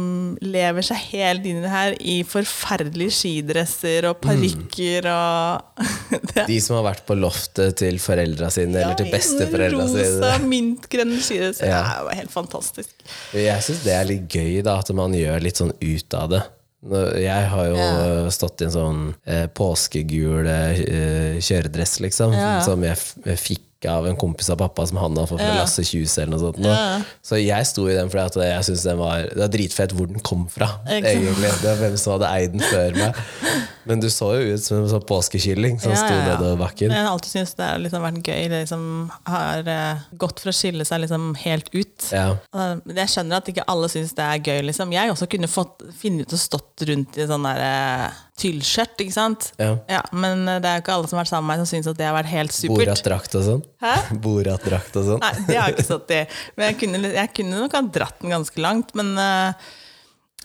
[SPEAKER 2] lever seg helt inn i det her i forferdelige skidresser
[SPEAKER 1] Mm.
[SPEAKER 2] og parykker og det er
[SPEAKER 1] De som har vært på loftet til foreldra sine, eller til besteforeldra sine.
[SPEAKER 2] Rosa, mintgrønne skidresser.
[SPEAKER 1] Ja.
[SPEAKER 2] Det er jo helt fantastisk.
[SPEAKER 1] Jeg syns det er litt gøy, da, at man gjør litt sånn ut av det. Nå- Jeg har jo
[SPEAKER 2] Ja.
[SPEAKER 1] øh, stått i en sånn eh, påskegul eh, kjøredress, liksom,
[SPEAKER 2] Ja.
[SPEAKER 1] som jeg, f jeg fikk av en kompis av pappa som han hadde fått fra
[SPEAKER 2] Ja.
[SPEAKER 1] Lasse Kjus eller noe sånt. nå.
[SPEAKER 2] Ja.
[SPEAKER 1] Så jeg sto i den fordi at jeg synes den var Det var dritfett hvor den kom fra,
[SPEAKER 2] Ikke sant?
[SPEAKER 1] egentlig. Det var hvem som hadde eid den før meg. Men du så jo ut som en sånn påskekylling som
[SPEAKER 2] Ja,
[SPEAKER 1] sto
[SPEAKER 2] ja, ja.
[SPEAKER 1] nedover
[SPEAKER 2] Jeg
[SPEAKER 1] bakken.
[SPEAKER 2] har alltid syntes det har liksom vært gøy. Det liksom har eh, gått for å skille seg liksom helt ut.
[SPEAKER 1] Ja.
[SPEAKER 2] Og det- Jeg skjønner at ikke alle syns det er gøy. Liksom. Jeg også kunne fått, finne ut og stått rundt i sånn der eh, tyllskjørt, ikke sant?
[SPEAKER 1] ja.
[SPEAKER 2] Ja, men eh, det er jo ikke alle som har vært sammen med meg som syns at det har vært helt supert.
[SPEAKER 1] Borat-drakt og sånn.
[SPEAKER 2] Hæ?
[SPEAKER 1] Borat-drakt og sånn.
[SPEAKER 2] Nei, det har jeg ikke stått i. Men jeg kunne, litt- jeg kunne nok ha dratt den ganske langt, men eh,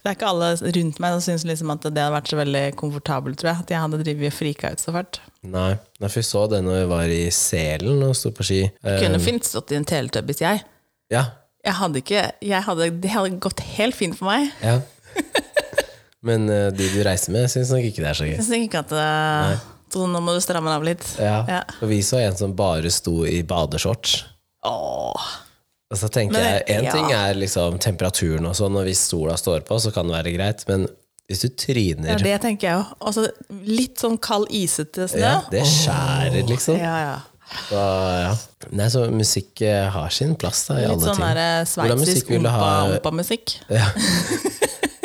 [SPEAKER 2] det er ikke alle rundt meg som syns liksom at det hadde vært så veldig komfortabelt, tror jeg. At jeg hadde drevet og frika ut så fælt.
[SPEAKER 1] Nei, Nei, for vi så det når vi var i Selen og sto på ski. Eh,
[SPEAKER 2] Kunne fint stått i en teletubbies, jeg.
[SPEAKER 1] ja,
[SPEAKER 2] Jeg hadde ikke, jeg hadde, det hadde gått helt fint for meg.
[SPEAKER 1] ja. Men eh, de du reiser med, syns nok ikke det er så gøy.
[SPEAKER 2] Jeg synes ikke at eh, Så nå må du stramme deg av litt.
[SPEAKER 1] Ja.
[SPEAKER 2] Ja.
[SPEAKER 1] For vi så en som bare sto i badeshorts.
[SPEAKER 2] Åh.
[SPEAKER 1] Og så tenker
[SPEAKER 2] Men-
[SPEAKER 1] jeg, En
[SPEAKER 2] ja.
[SPEAKER 1] ting er liksom temperaturen og sånn, og hvis sola står på, så kan det være greit, men hvis du
[SPEAKER 2] Ja,
[SPEAKER 1] tryner
[SPEAKER 2] det tenker jeg òg. Og så litt sånn kald, isete snø.
[SPEAKER 1] ja, Det skjærer, liksom.
[SPEAKER 2] Ja, ja.
[SPEAKER 1] Så, ja. Nei, så musikk eh, har sin plass da, i
[SPEAKER 2] Litt
[SPEAKER 1] alle
[SPEAKER 2] sånn
[SPEAKER 1] ting.
[SPEAKER 2] der eh,
[SPEAKER 1] Hvordan musikk
[SPEAKER 2] sveitsisk
[SPEAKER 1] vil du ha,
[SPEAKER 2] ompa- ompa-musikk.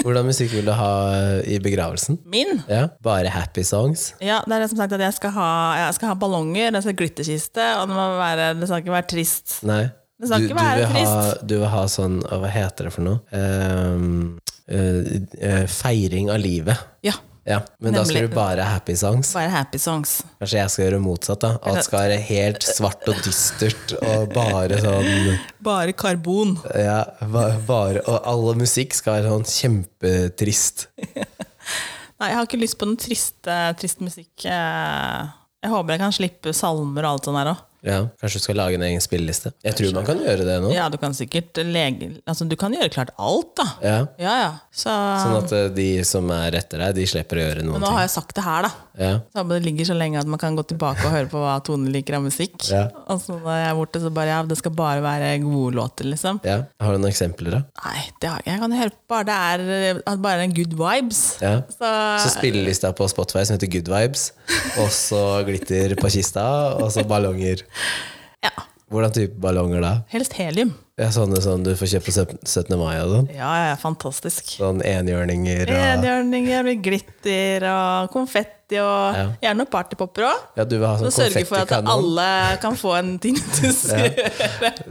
[SPEAKER 1] hvordan musikk vil du ha eh, i begravelsen?
[SPEAKER 2] Min?
[SPEAKER 1] Ja, Bare happy songs?
[SPEAKER 2] Ja, det er det som sagt at jeg skal ha, jeg skal ha ballonger, jeg skal ha glitterkiste, og det, må være, det skal ikke være trist.
[SPEAKER 1] Nei.
[SPEAKER 2] Det skal ikke være
[SPEAKER 1] vil ha, du vil ha sånn Hva heter det for noe? Ehm, eh, eh, feiring av livet.
[SPEAKER 2] Ja.
[SPEAKER 1] Ja, Men da skal
[SPEAKER 2] Nemlig.
[SPEAKER 1] du bare ha happy songs.
[SPEAKER 2] Bare happy songs.
[SPEAKER 1] Kanskje jeg skal gjøre motsatt. da Alt skal være helt svart og dystert og bare sånn
[SPEAKER 2] Bare karbon.
[SPEAKER 1] ja, ba- bare, Og all musikk skal være sånn kjempetrist.
[SPEAKER 2] Nei, jeg har ikke lyst på noe trist, eh, trist musikk. eh. Jeg håper jeg kan slippe salmer og alt sånt der òg.
[SPEAKER 1] Ja, Kanskje du skal lage en egen spilleliste. Jeg tror man kan gjøre det nå.
[SPEAKER 2] Ja, du kan sikkert lege... Altså, du kan gjøre klart alt, da.
[SPEAKER 1] Ja,
[SPEAKER 2] Ja, ja. Så,
[SPEAKER 1] Sånn at eh, de som er etter deg, de slipper å gjøre noen
[SPEAKER 2] nå
[SPEAKER 1] ting.
[SPEAKER 2] har jeg sagt det her, da.
[SPEAKER 1] Ja,
[SPEAKER 2] Så det ligger så lenge at man kan gå tilbake og høre på hva Tone liker av musikk.
[SPEAKER 1] Ja.
[SPEAKER 2] Og så når jeg er borte, så bare ja, det skal bare være gode låter, liksom.
[SPEAKER 1] ja. Har du noen eksempler, da?
[SPEAKER 2] Nei, det har jeg ikke. Jeg kan høre på bare det er at bare er good vibes.
[SPEAKER 1] Ja.
[SPEAKER 2] Så,
[SPEAKER 1] Så spillelista på Spotify som heter Good Vibes, og så glitter på kista, og så ballonger.
[SPEAKER 2] ja.
[SPEAKER 1] Hvordan type ballonger da?
[SPEAKER 2] Helst helium.
[SPEAKER 1] Ja, sånne som du får kjøpt på søp- 17. mai og sånn?
[SPEAKER 2] Ja, ja, fantastisk.
[SPEAKER 1] Sånn enhjørninger og
[SPEAKER 2] Enhjørninger, glitter og konfetti party og gjerne noen partypopper òg.
[SPEAKER 1] Ja, du vil ha
[SPEAKER 2] Så
[SPEAKER 1] sånn
[SPEAKER 2] sørge for at
[SPEAKER 1] konfettikanon.
[SPEAKER 2] alle kan få en ting til å se.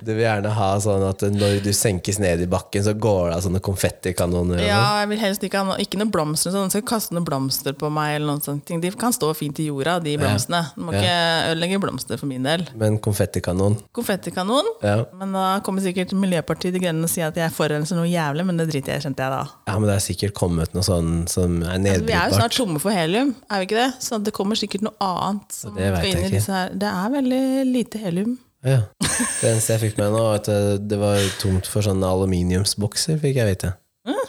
[SPEAKER 1] Du vil gjerne ha sånn at når du senkes ned i bakken, så går det av sånne konfettikanoner. og
[SPEAKER 2] Ja, jeg vil helst ikke ha noe, ikke noe blomster. og Sånn. De skal ikke kaste noen blomster på meg. Eller noen sånne ting. De kan stå fint i jorda, de blomstene. Du må ikke ødelegge blomster for min del.
[SPEAKER 1] sånn. Men konfettikanon
[SPEAKER 2] Konfettikanon.
[SPEAKER 1] ja.
[SPEAKER 2] Men da kommer sikkert Miljøpartiet De Grønne og sier at jeg forurenser noe jævlig, men det driter jeg i, kjente jeg da.
[SPEAKER 1] ja, men det er sikkert kommet noe sånn som er
[SPEAKER 2] Altså, vi er jo
[SPEAKER 1] nedbrytbart.
[SPEAKER 2] snart tomme for helium, er vi ikke det? Så det kommer sikkert noe annet. Som
[SPEAKER 1] det vet
[SPEAKER 2] skal inn
[SPEAKER 1] jeg
[SPEAKER 2] i
[SPEAKER 1] ikke.
[SPEAKER 2] disse her. Det er veldig lite helium.
[SPEAKER 1] Ja. Det eneste jeg fikk med nå, var at det- det var tomt for sånne aluminiumsbokser, fikk jeg vite. Ja,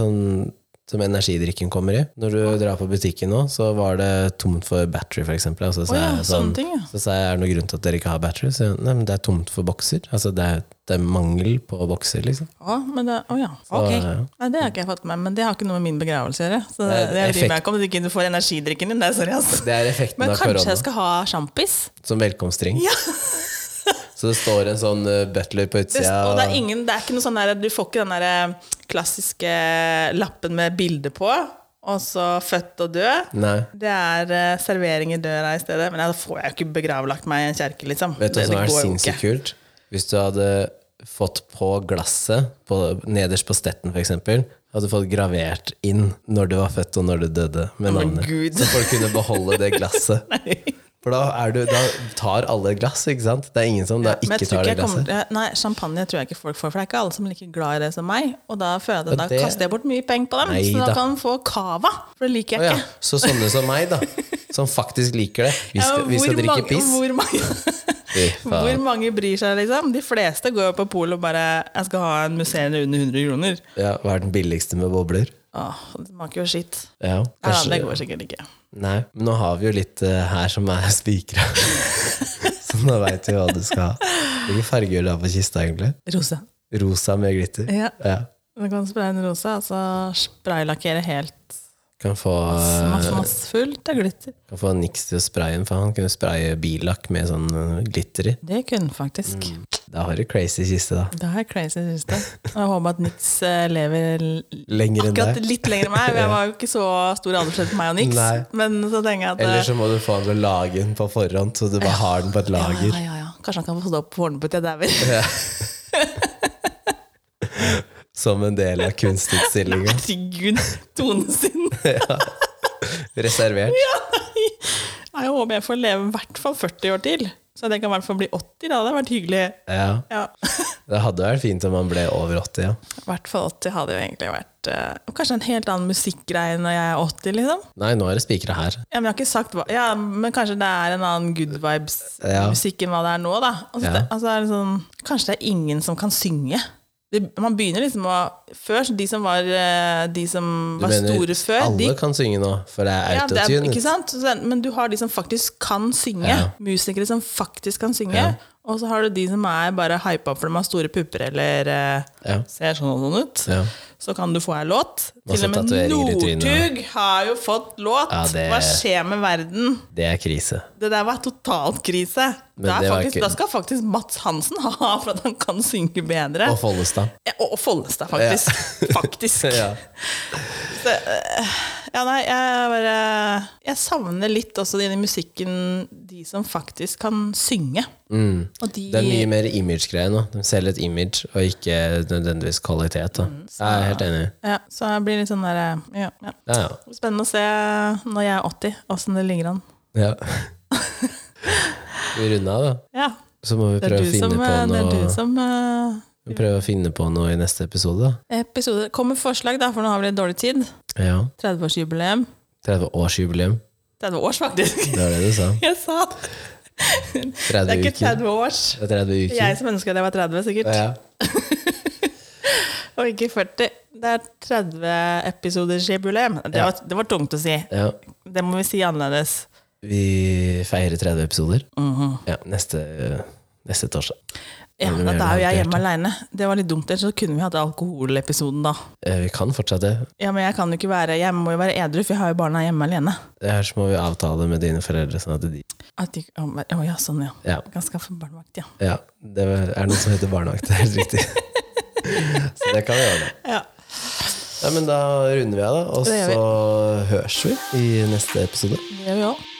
[SPEAKER 1] sånn som energidrikken kommer i. Når du drar på butikken nå, så var det tomt for battery, for eksempel. Og så sa
[SPEAKER 2] Å ja,
[SPEAKER 1] jeg
[SPEAKER 2] sånne
[SPEAKER 1] sånn,
[SPEAKER 2] ting, ja.
[SPEAKER 1] så sa jeg, er det noen grunn til at dere ikke har battery? Så jeg, nei, men det er tomt for bokser. Altså, det er, det er mangel på bokser, liksom.
[SPEAKER 2] Ja, men det, å ja.
[SPEAKER 1] Så,
[SPEAKER 2] Ok.
[SPEAKER 1] ja.
[SPEAKER 2] Nei, det har ikke jeg fått med meg, men det har ikke noe med min begravelse å gjøre. Så det,
[SPEAKER 1] Nei,
[SPEAKER 2] det bryr
[SPEAKER 1] effekt-
[SPEAKER 2] meg ikke om du ikke får energidrikken din. Nei, sorry, ass.
[SPEAKER 1] Det er effekten
[SPEAKER 2] Men
[SPEAKER 1] av
[SPEAKER 2] kanskje
[SPEAKER 1] korona.
[SPEAKER 2] jeg skal ha sjampis?
[SPEAKER 1] Som velkomstring. så det står en sånn eh, butler på
[SPEAKER 2] Det,
[SPEAKER 1] utsida.
[SPEAKER 2] og det, er
[SPEAKER 1] og-
[SPEAKER 2] ingen, det er ikke noe sånn der, Du får ikke den der klassiske eh, lappen med bilde på, og så født og død.
[SPEAKER 1] Nei.
[SPEAKER 2] Det er eh, servering i døra i stedet. Men ja, da får jeg jo ikke begravlagt meg i en kjerke, liksom.
[SPEAKER 1] Vet du hva
[SPEAKER 2] Det-
[SPEAKER 1] som
[SPEAKER 2] det
[SPEAKER 1] er
[SPEAKER 2] går jo
[SPEAKER 1] sinnssykt
[SPEAKER 2] ikke.
[SPEAKER 1] kult? Hvis du hadde fått på glasset, på, nederst på stetten f.eks., hadde du fått gravert inn når du var født og når du døde, med
[SPEAKER 2] men
[SPEAKER 1] navnet.
[SPEAKER 2] Gud.
[SPEAKER 1] Så folk kunne beholde det glasset. For da, er du, da tar alle glass, ikke sant? Det er ingen som da
[SPEAKER 2] Men jeg
[SPEAKER 1] ikke
[SPEAKER 2] tror
[SPEAKER 1] tar
[SPEAKER 2] ikke
[SPEAKER 1] det
[SPEAKER 2] jeg kommer,
[SPEAKER 1] glasset.
[SPEAKER 2] til- nei, Champagne tror jeg ikke folk får, for det er ikke alle som er like glad i det som meg. Og da, føler jeg, at da
[SPEAKER 1] det-
[SPEAKER 2] kaster jeg bort mye penger på dem,
[SPEAKER 1] Nei
[SPEAKER 2] så
[SPEAKER 1] da.
[SPEAKER 2] da kan de få cava. For det liker
[SPEAKER 1] Å
[SPEAKER 2] jeg
[SPEAKER 1] ja,
[SPEAKER 2] ikke.
[SPEAKER 1] så sånne som meg, da. Som faktisk liker det. Vi
[SPEAKER 2] Ja,
[SPEAKER 1] skal,
[SPEAKER 2] men
[SPEAKER 1] vi skal
[SPEAKER 2] hvor
[SPEAKER 1] drikke
[SPEAKER 2] mange-
[SPEAKER 1] piss.
[SPEAKER 2] Hvor mange,
[SPEAKER 1] Fy
[SPEAKER 2] hvor
[SPEAKER 1] faen.
[SPEAKER 2] mange bryr seg, liksom? De fleste går jo på polet og bare 'Jeg skal ha en musserende under 100 kroner'.
[SPEAKER 1] Ja, hva er den billigste med bobler?
[SPEAKER 2] Åh, det smaker jo skitt.
[SPEAKER 1] Ja,
[SPEAKER 2] Nei, da,
[SPEAKER 1] kanskje
[SPEAKER 2] det går sikkert ikke.
[SPEAKER 1] Nei, men nå har vi jo litt eh, her som er spikra. Så nå veit vi hva du skal ha. Hvilken farge gjør du ha på kista, egentlig?
[SPEAKER 2] Rosa.
[SPEAKER 1] Rosa med glitter?
[SPEAKER 2] Ja.
[SPEAKER 1] Ja.
[SPEAKER 2] Du kan spraye en rosa, altså spraylakkere helt
[SPEAKER 1] Kan få,
[SPEAKER 2] masse,
[SPEAKER 1] Eh.
[SPEAKER 2] masse fullt av glitter.
[SPEAKER 1] kan få Nix til å spraye den, for han kunne spraye billakk med sånn eh, glitter i.
[SPEAKER 2] Det kunne den faktisk.
[SPEAKER 1] Da har du crazy kiste, da.
[SPEAKER 2] Det er crazy, syns jeg. Og Jeg håper at Nix eh, lever l-
[SPEAKER 1] Lenger enn
[SPEAKER 2] akkurat
[SPEAKER 1] deg.
[SPEAKER 2] litt lenger enn meg. for Jeg var jo ikke så stor aldersforskjell på meg og Nix.
[SPEAKER 1] Nei.
[SPEAKER 2] Men så tenker jeg at eh,
[SPEAKER 1] Eller så må du få han til å lage den på forhånd, så du bare har den på et lager.
[SPEAKER 2] Ja, ja, ja. Kanskje han kan få stå opp på Fornebu til jeg dauer.
[SPEAKER 1] Som en del av kunstutstillinga.
[SPEAKER 2] Herregud, Tone sin.
[SPEAKER 1] Reservert.
[SPEAKER 2] Nei, Jeg håper jeg får leve i hvert fall 40 år til. Så at jeg kan i hvert fall bli 80, da. Det hadde vært hyggelig.
[SPEAKER 1] Ja.
[SPEAKER 2] Ja.
[SPEAKER 1] Det hadde vært fint om han ble over 80, ja.
[SPEAKER 2] I hvert fall 80 hadde jo egentlig vært eh, Kanskje en helt annen musikkgreie når jeg er 80, liksom.
[SPEAKER 1] Nei, nå er det spikra her.
[SPEAKER 2] Ja, men jeg har ikke sagt hva Ja, men kanskje det er en annen good
[SPEAKER 1] Ja.
[SPEAKER 2] vibes-musikk enn hva det er nå, da. Altså,
[SPEAKER 1] Ja.
[SPEAKER 2] det, altså, er det sånn, kanskje det er ingen som kan synge. Det, man begynner liksom å Før, så de som var, eh, de som
[SPEAKER 1] Du
[SPEAKER 2] var store før,
[SPEAKER 1] alle
[SPEAKER 2] de
[SPEAKER 1] kan synge nå, for det er
[SPEAKER 2] ja, det er,
[SPEAKER 1] autotune.
[SPEAKER 2] ikke sant? Så det er- Men du har de som faktisk kan synge.
[SPEAKER 1] Ja.
[SPEAKER 2] Musikere som faktisk kan synge.
[SPEAKER 1] Ja.
[SPEAKER 2] Og så har du de som er bare hypa for de har store pupper eller eh,
[SPEAKER 1] Ja.
[SPEAKER 2] ser sånn og sånn ut.
[SPEAKER 1] Ja.
[SPEAKER 2] Så kan du få ei låt.
[SPEAKER 1] Masse
[SPEAKER 2] Til og med
[SPEAKER 1] tatoveringer i trynet.
[SPEAKER 2] Northug har jo fått låt!
[SPEAKER 1] Ja, det-
[SPEAKER 2] Hva skjer med verden?
[SPEAKER 1] Det er krise.
[SPEAKER 2] Det der var totalt krise.
[SPEAKER 1] Men
[SPEAKER 2] Da er
[SPEAKER 1] det var
[SPEAKER 2] faktisk,
[SPEAKER 1] ikke-
[SPEAKER 2] Da skal faktisk Mats Hansen ha for at han kan synge bedre.
[SPEAKER 1] Og Follestad.
[SPEAKER 2] Ja, Og, og Follestad, faktisk. Faktisk.
[SPEAKER 1] Ja.
[SPEAKER 2] Ja, nei, jeg bare Jeg savner litt også i den musikken de som faktisk kan synge. Og de
[SPEAKER 1] Mm. Det er mye mer image-greie nå. De selger et image, og ikke nødvendigvis kvalitet. Da.
[SPEAKER 2] Mm,
[SPEAKER 1] Jeg er helt enig.
[SPEAKER 2] ja, Så jeg blir litt sånn der ja, ja.
[SPEAKER 1] Ja,
[SPEAKER 2] Spennende å se når jeg er 80, åssen det ligger an.
[SPEAKER 1] ja. ja. Vi runder av, da.
[SPEAKER 2] Ja,
[SPEAKER 1] Så må vi
[SPEAKER 2] det er
[SPEAKER 1] prøve å
[SPEAKER 2] du
[SPEAKER 1] finne
[SPEAKER 2] som,
[SPEAKER 1] på
[SPEAKER 2] eh, det er du
[SPEAKER 1] noe
[SPEAKER 2] som eh,
[SPEAKER 1] vi prøver å finne på noe i neste episode, da.
[SPEAKER 2] Episode Kom med forslag, da, for nå har vi litt dårlig tid.
[SPEAKER 1] Ja.
[SPEAKER 2] 30-årsjubileum.
[SPEAKER 1] 30-årsjubileum.
[SPEAKER 2] 30 års, faktisk.
[SPEAKER 1] Det var det du sa.
[SPEAKER 2] Jeg sa det. Det er
[SPEAKER 1] 30
[SPEAKER 2] ikke
[SPEAKER 1] uker.
[SPEAKER 2] 30 års.
[SPEAKER 1] Det er 30
[SPEAKER 2] Det er jeg
[SPEAKER 1] uker.
[SPEAKER 2] som ønsker at jeg var 30, sikkert.
[SPEAKER 1] Ja.
[SPEAKER 2] Og ikke 40. Det er 30 episoders jubileum. Det,
[SPEAKER 1] Ja.
[SPEAKER 2] var- det var tungt å si.
[SPEAKER 1] ja.
[SPEAKER 2] Det må vi si annerledes.
[SPEAKER 1] Vi feirer 30 episoder. Ja, neste, neste torsdag.
[SPEAKER 2] Ja,
[SPEAKER 1] Eller mer
[SPEAKER 2] da er jo jeg
[SPEAKER 1] håndtert,
[SPEAKER 2] hjemme aleine. Det var litt dumt, ellers så kunne vi hatt alkoholepisoden da.
[SPEAKER 1] Eh, Vi kan fortsatt det.
[SPEAKER 2] Ja, men jeg kan jo ikke være Jeg må jo være edru, for jeg har jo barna hjemme alene.
[SPEAKER 1] Det her så må vi avtale med dine foreldre. Sånn at de,
[SPEAKER 2] At de, å, men- å ja, sånn, ja.
[SPEAKER 1] ja,
[SPEAKER 2] Jeg kan skaffe barnevakt, ja.
[SPEAKER 1] ja, det er noe som heter barnevakt, det er helt riktig. Så det kan vi gjøre.
[SPEAKER 2] ja.
[SPEAKER 1] Nei, men da runder vi av, da. Og
[SPEAKER 2] Det gjør vi.
[SPEAKER 1] så høres vi i neste episode.
[SPEAKER 2] Det gjør vi òg.